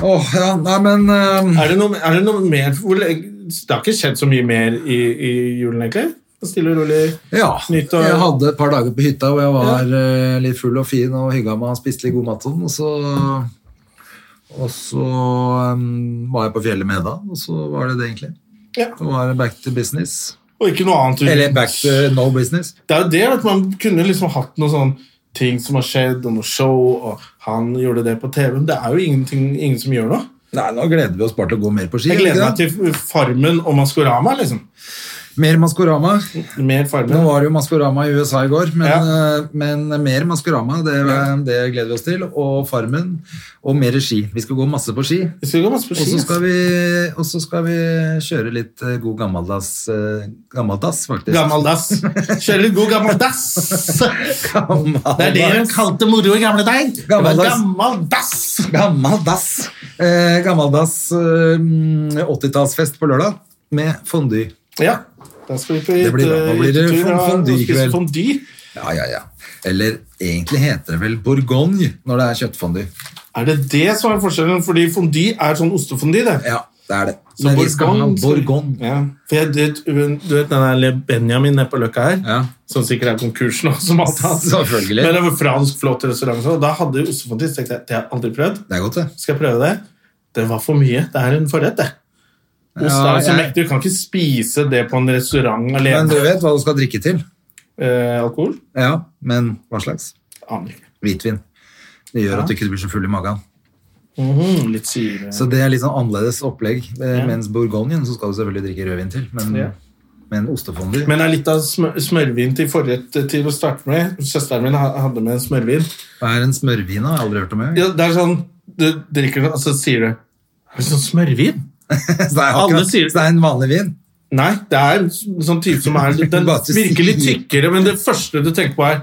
B: Åh, ja, nei, men ehm,
A: Er det noe, er det noe mer hvor, lenge- Det har ikke skjedd så mye mer i, i julen, egentlig? Stille og rolig.
B: Ja,
A: Nytt og-
B: jeg hadde et par dager på hytta hvor jeg var eh, litt full og fin og hygga meg og spiste litt god mat og sånn, og så og så ehm, var jeg på fjellet med Hedda, og så var det det, egentlig.
A: Ja.
B: Det var back to business.
A: Og ikke noe annet.
B: Eller back to no business.
A: Det er jo det at man kunne liksom hatt noen sånn ting som har skjedd, og noe show, og han gjorde det på TV, men det er jo ingenting, ingen som gjør noe.
B: Nei, nå gleder vi oss bare til å gå mer på ski.
A: Jeg
B: ikke
A: gleder meg
B: det?
A: til Farmen og Maskorama, liksom.
B: Mer Maskorama.
A: Mer
B: Nå
A: Farmen.
B: var det jo Maskorama i USA i går, men,
A: Ja.
B: eh, men mer Maskorama, det, det gleder vi oss til. Og Farmen, og mer ski. Vi skal gå masse på ski.
A: Vi skal gå masse på
B: Og
A: ski.
B: så
A: ass.
B: skal, vi- og så skal vi kjøre litt eh, god gammeldags, eh, gammeldass, faktisk.
A: Gammeldass. Kjøre litt god gammeldass.
B: Gammeldass.
A: Det er det hun kalte moro i gamle dager. Det var
B: Gammeldass.
A: Gammeldass.
B: Gammeldass. Eh, gammeldass eh, 80-tallsfest på lørdag med fondue.
A: Ja. Da skal vi på
B: Det blir bra. Da blir det
A: hyttetur, og
B: fondue i
A: spise
B: kveld.
A: Fondue.
B: Ja, ja, ja. Eller egentlig heter det vel bourgogne når det er kjøttfondue.
A: Er det det som er forskjellen? Fordi fondue er sånn ostefondy, det.
B: Ja, det er det.
A: Så
B: Men vi skal ha
A: bourgogne skal-
B: bourgogne.
A: Ja. For jeg, du, du vet den der Le Benjamin nede på Løkka her,
B: Ja.
A: som sikkert er konkurs nå, som alt annet.
B: Selvfølgelig.
A: Men det var fransk flott restaurant, og da hadde de ostefondy. Så tenkte jeg, det har jeg aldri prøvd.
B: Det er godt, det.
A: Skal jeg prøve det? Det var for mye. Det er en forrett, det. Ost
B: Ja,
A: er jo så
B: jeg-
A: mektig. Du kan ikke spise det på en restaurant alene.
B: Men du vet hva du skal drikke til.
A: Eh, alkohol?
B: Ja, men hva slags?
A: Aner ikke.
B: Hvitvin. Det gjør at du ikke blir så full i magen.
A: Mhm, litt syre.
B: Så det er litt sånn annerledes opplegg. Eh,
A: Ja.
B: Mens bourgognen så skal du selvfølgelig drikke rødvin til. Men,
A: Ja.
B: men ostefondue
A: Men det er litt av smør smørvin til forrett eh, til å starte med. Søsteren min ha- hadde med en smørvin.
B: Hva er en smørvin? da? Jeg har aldri hørt om det.
A: Ja, det er sånn, du drikker den, og så sier du Er det sånn smørvin?
B: Så det er
A: Alle
B: akkurat-
A: sier-
B: så det er en vanlig vin.
A: Nei, det er en sånn type som er Den
B: Bare til
A: virker litt
B: sier.
A: tykkere, men det første du tenker på, er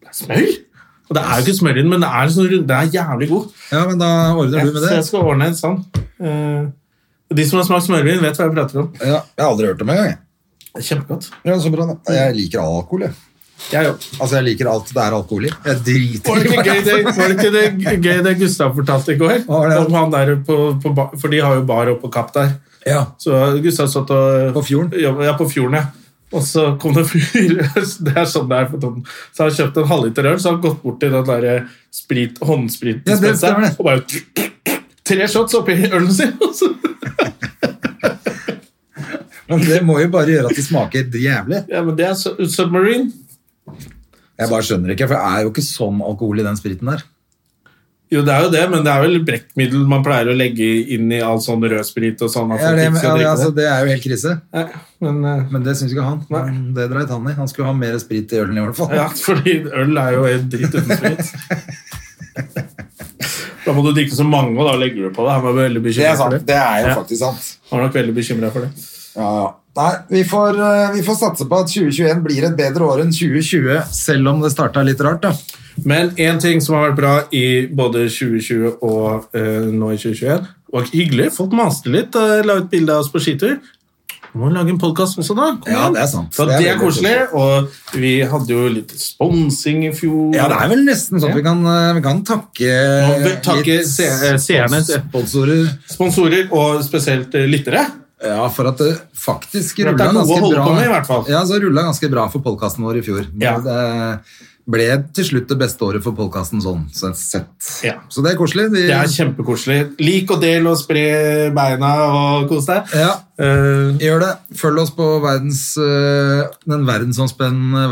A: Det er smør? Og det er jo ikke smør i den, men det er, sånn, rund- det er jævlig god.
B: Ja, men da ordner du med
A: Så
B: det.
A: jeg skal ordne en sånn. Eh, de som har smakt smørvin, vet hva jeg prater om.
B: Ja, jeg har aldri hørt om det engang. jeg.
A: Det er Kjempegodt.
B: Ja, så bra, da. Jeg liker all alkohol, jeg.
A: Jeg òg.
B: Altså, jeg liker alt det er alkohol i. Jeg
A: Var
B: driter
A: det
B: i
A: ikke gøy det, var det, ikke det, gøy det Gustav fortalte i går?
B: Hva var det?
A: Om han der på, på bar, for de har jo bar oppe på Kapp der.
B: Ja.
A: Så Gustav satt og
B: På fjorden?
A: Ja, ja, på fjorden, ja. Og så kom det en fyr Det er sånn det er på Toten. Så har han kjøpt en halvliter øl, så har han gått bort til den der eh, sprit,
B: Ja, det stemmer
A: håndspritdispenseren
B: det.
A: og bare Tre shots oppi ølen sin! og så-
B: Men det må jo bare gjøre at det smaker jævlig.
A: Ja, men det er su- submarine.
B: Jeg bare skjønner ikke, for det er jo ikke sånn alkohol i den spriten der.
A: Jo, det er jo det, men det er vel brekkmiddel man pleier å legge inn i all sånn rødsprit og sånn. at
B: Ja,
A: folk
B: det,
A: ikke
B: ja,
A: skal drikke
B: altså,
A: det.
B: det er jo helt krise.
A: Nei, men, eh,
B: Men det syns ikke han.
A: Nei.
B: Men Det dreit han i. Han skulle ha mer sprit i ølen i hvert fall.
A: ja, fordi øl er jo helt dritt uten sprit. Da må du drikke så mange, og da legger du på det. Han var veldig bekymret for det.
B: er
A: jo Ja.
B: faktisk sant.
A: Han var nok veldig bekymret for det.
B: Ja, ja. Nei, vi får, eh, vi får satse på at 2021 blir et bedre år enn 2020, selv om det starta litt rart, da.
A: Men én ting som har vært bra i både 2020 og eh, nå i 2021 var hyggelig. Folk maste litt og la ut bilde av oss på skitur. Vi må lage en podkast også, da. Kom
B: Ja,
A: igjen.
B: det er sant.
A: Så
B: Det
A: det er,
B: er veldig
A: koselig. Og vi hadde jo litt sponsing i fjor.
B: Ja, det er vel nesten sånn at vi kan, eh, vi kan takke,
A: Må vi takke
B: litt
A: se- eh, seerne.
B: sponsorer
A: Sponsorer, og spesielt eh, lyttere.
B: ja, for at det faktisk
A: For at det
B: rulla
A: er noe å
B: ganske
A: holde
B: bra.
A: på med, i hvert fall.
B: Ja, så rullet ganske bra for podkasten vår i fjor.
A: Ja.
B: Det ble til slutt det beste året for podkasten sånn sett.
A: Ja.
B: Så det er koselig. Vi,
A: Det er kjempekoselig. Lik og del og spre beina og kos deg.
B: ja,
A: Eh,
B: gjør det. Følg oss på verdens, eh, den verdensomspennende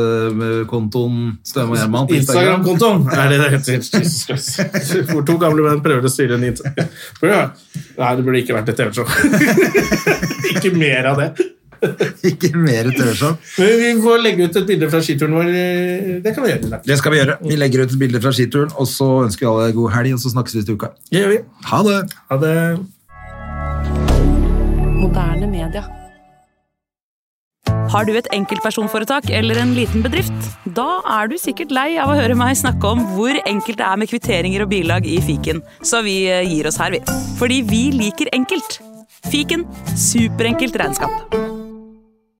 B: verdenspodkast-kontoen Støme og Gjerman på Instagram.
A: Instagram-kontoen er det det heter. Jesus Christ. Hvor to gamle menn prøver å styre en Instagram. Nei, det burde ikke vært et TV-show. ikke mer av det.
B: Ikke mer tørrshow.
A: Men vi får legge ut et bilde fra skituren vår. Det kan vi gjøre. i dag.
B: Det skal vi gjøre. Vi legger ut et bilde fra skituren, og så ønsker vi alle god helg, og så snakkes vi til uka.
A: Det gjør vi.
B: Ha det!
A: Ha det.
C: Moderne media. Har du et enkeltpersonforetak eller en liten bedrift? Da er du sikkert lei av å høre meg snakke om hvor enkelt det er med kvitteringer og bilag i fiken, så vi eh, gir oss her, vi. Fordi vi liker enkelt. Fiken superenkelt regnskap.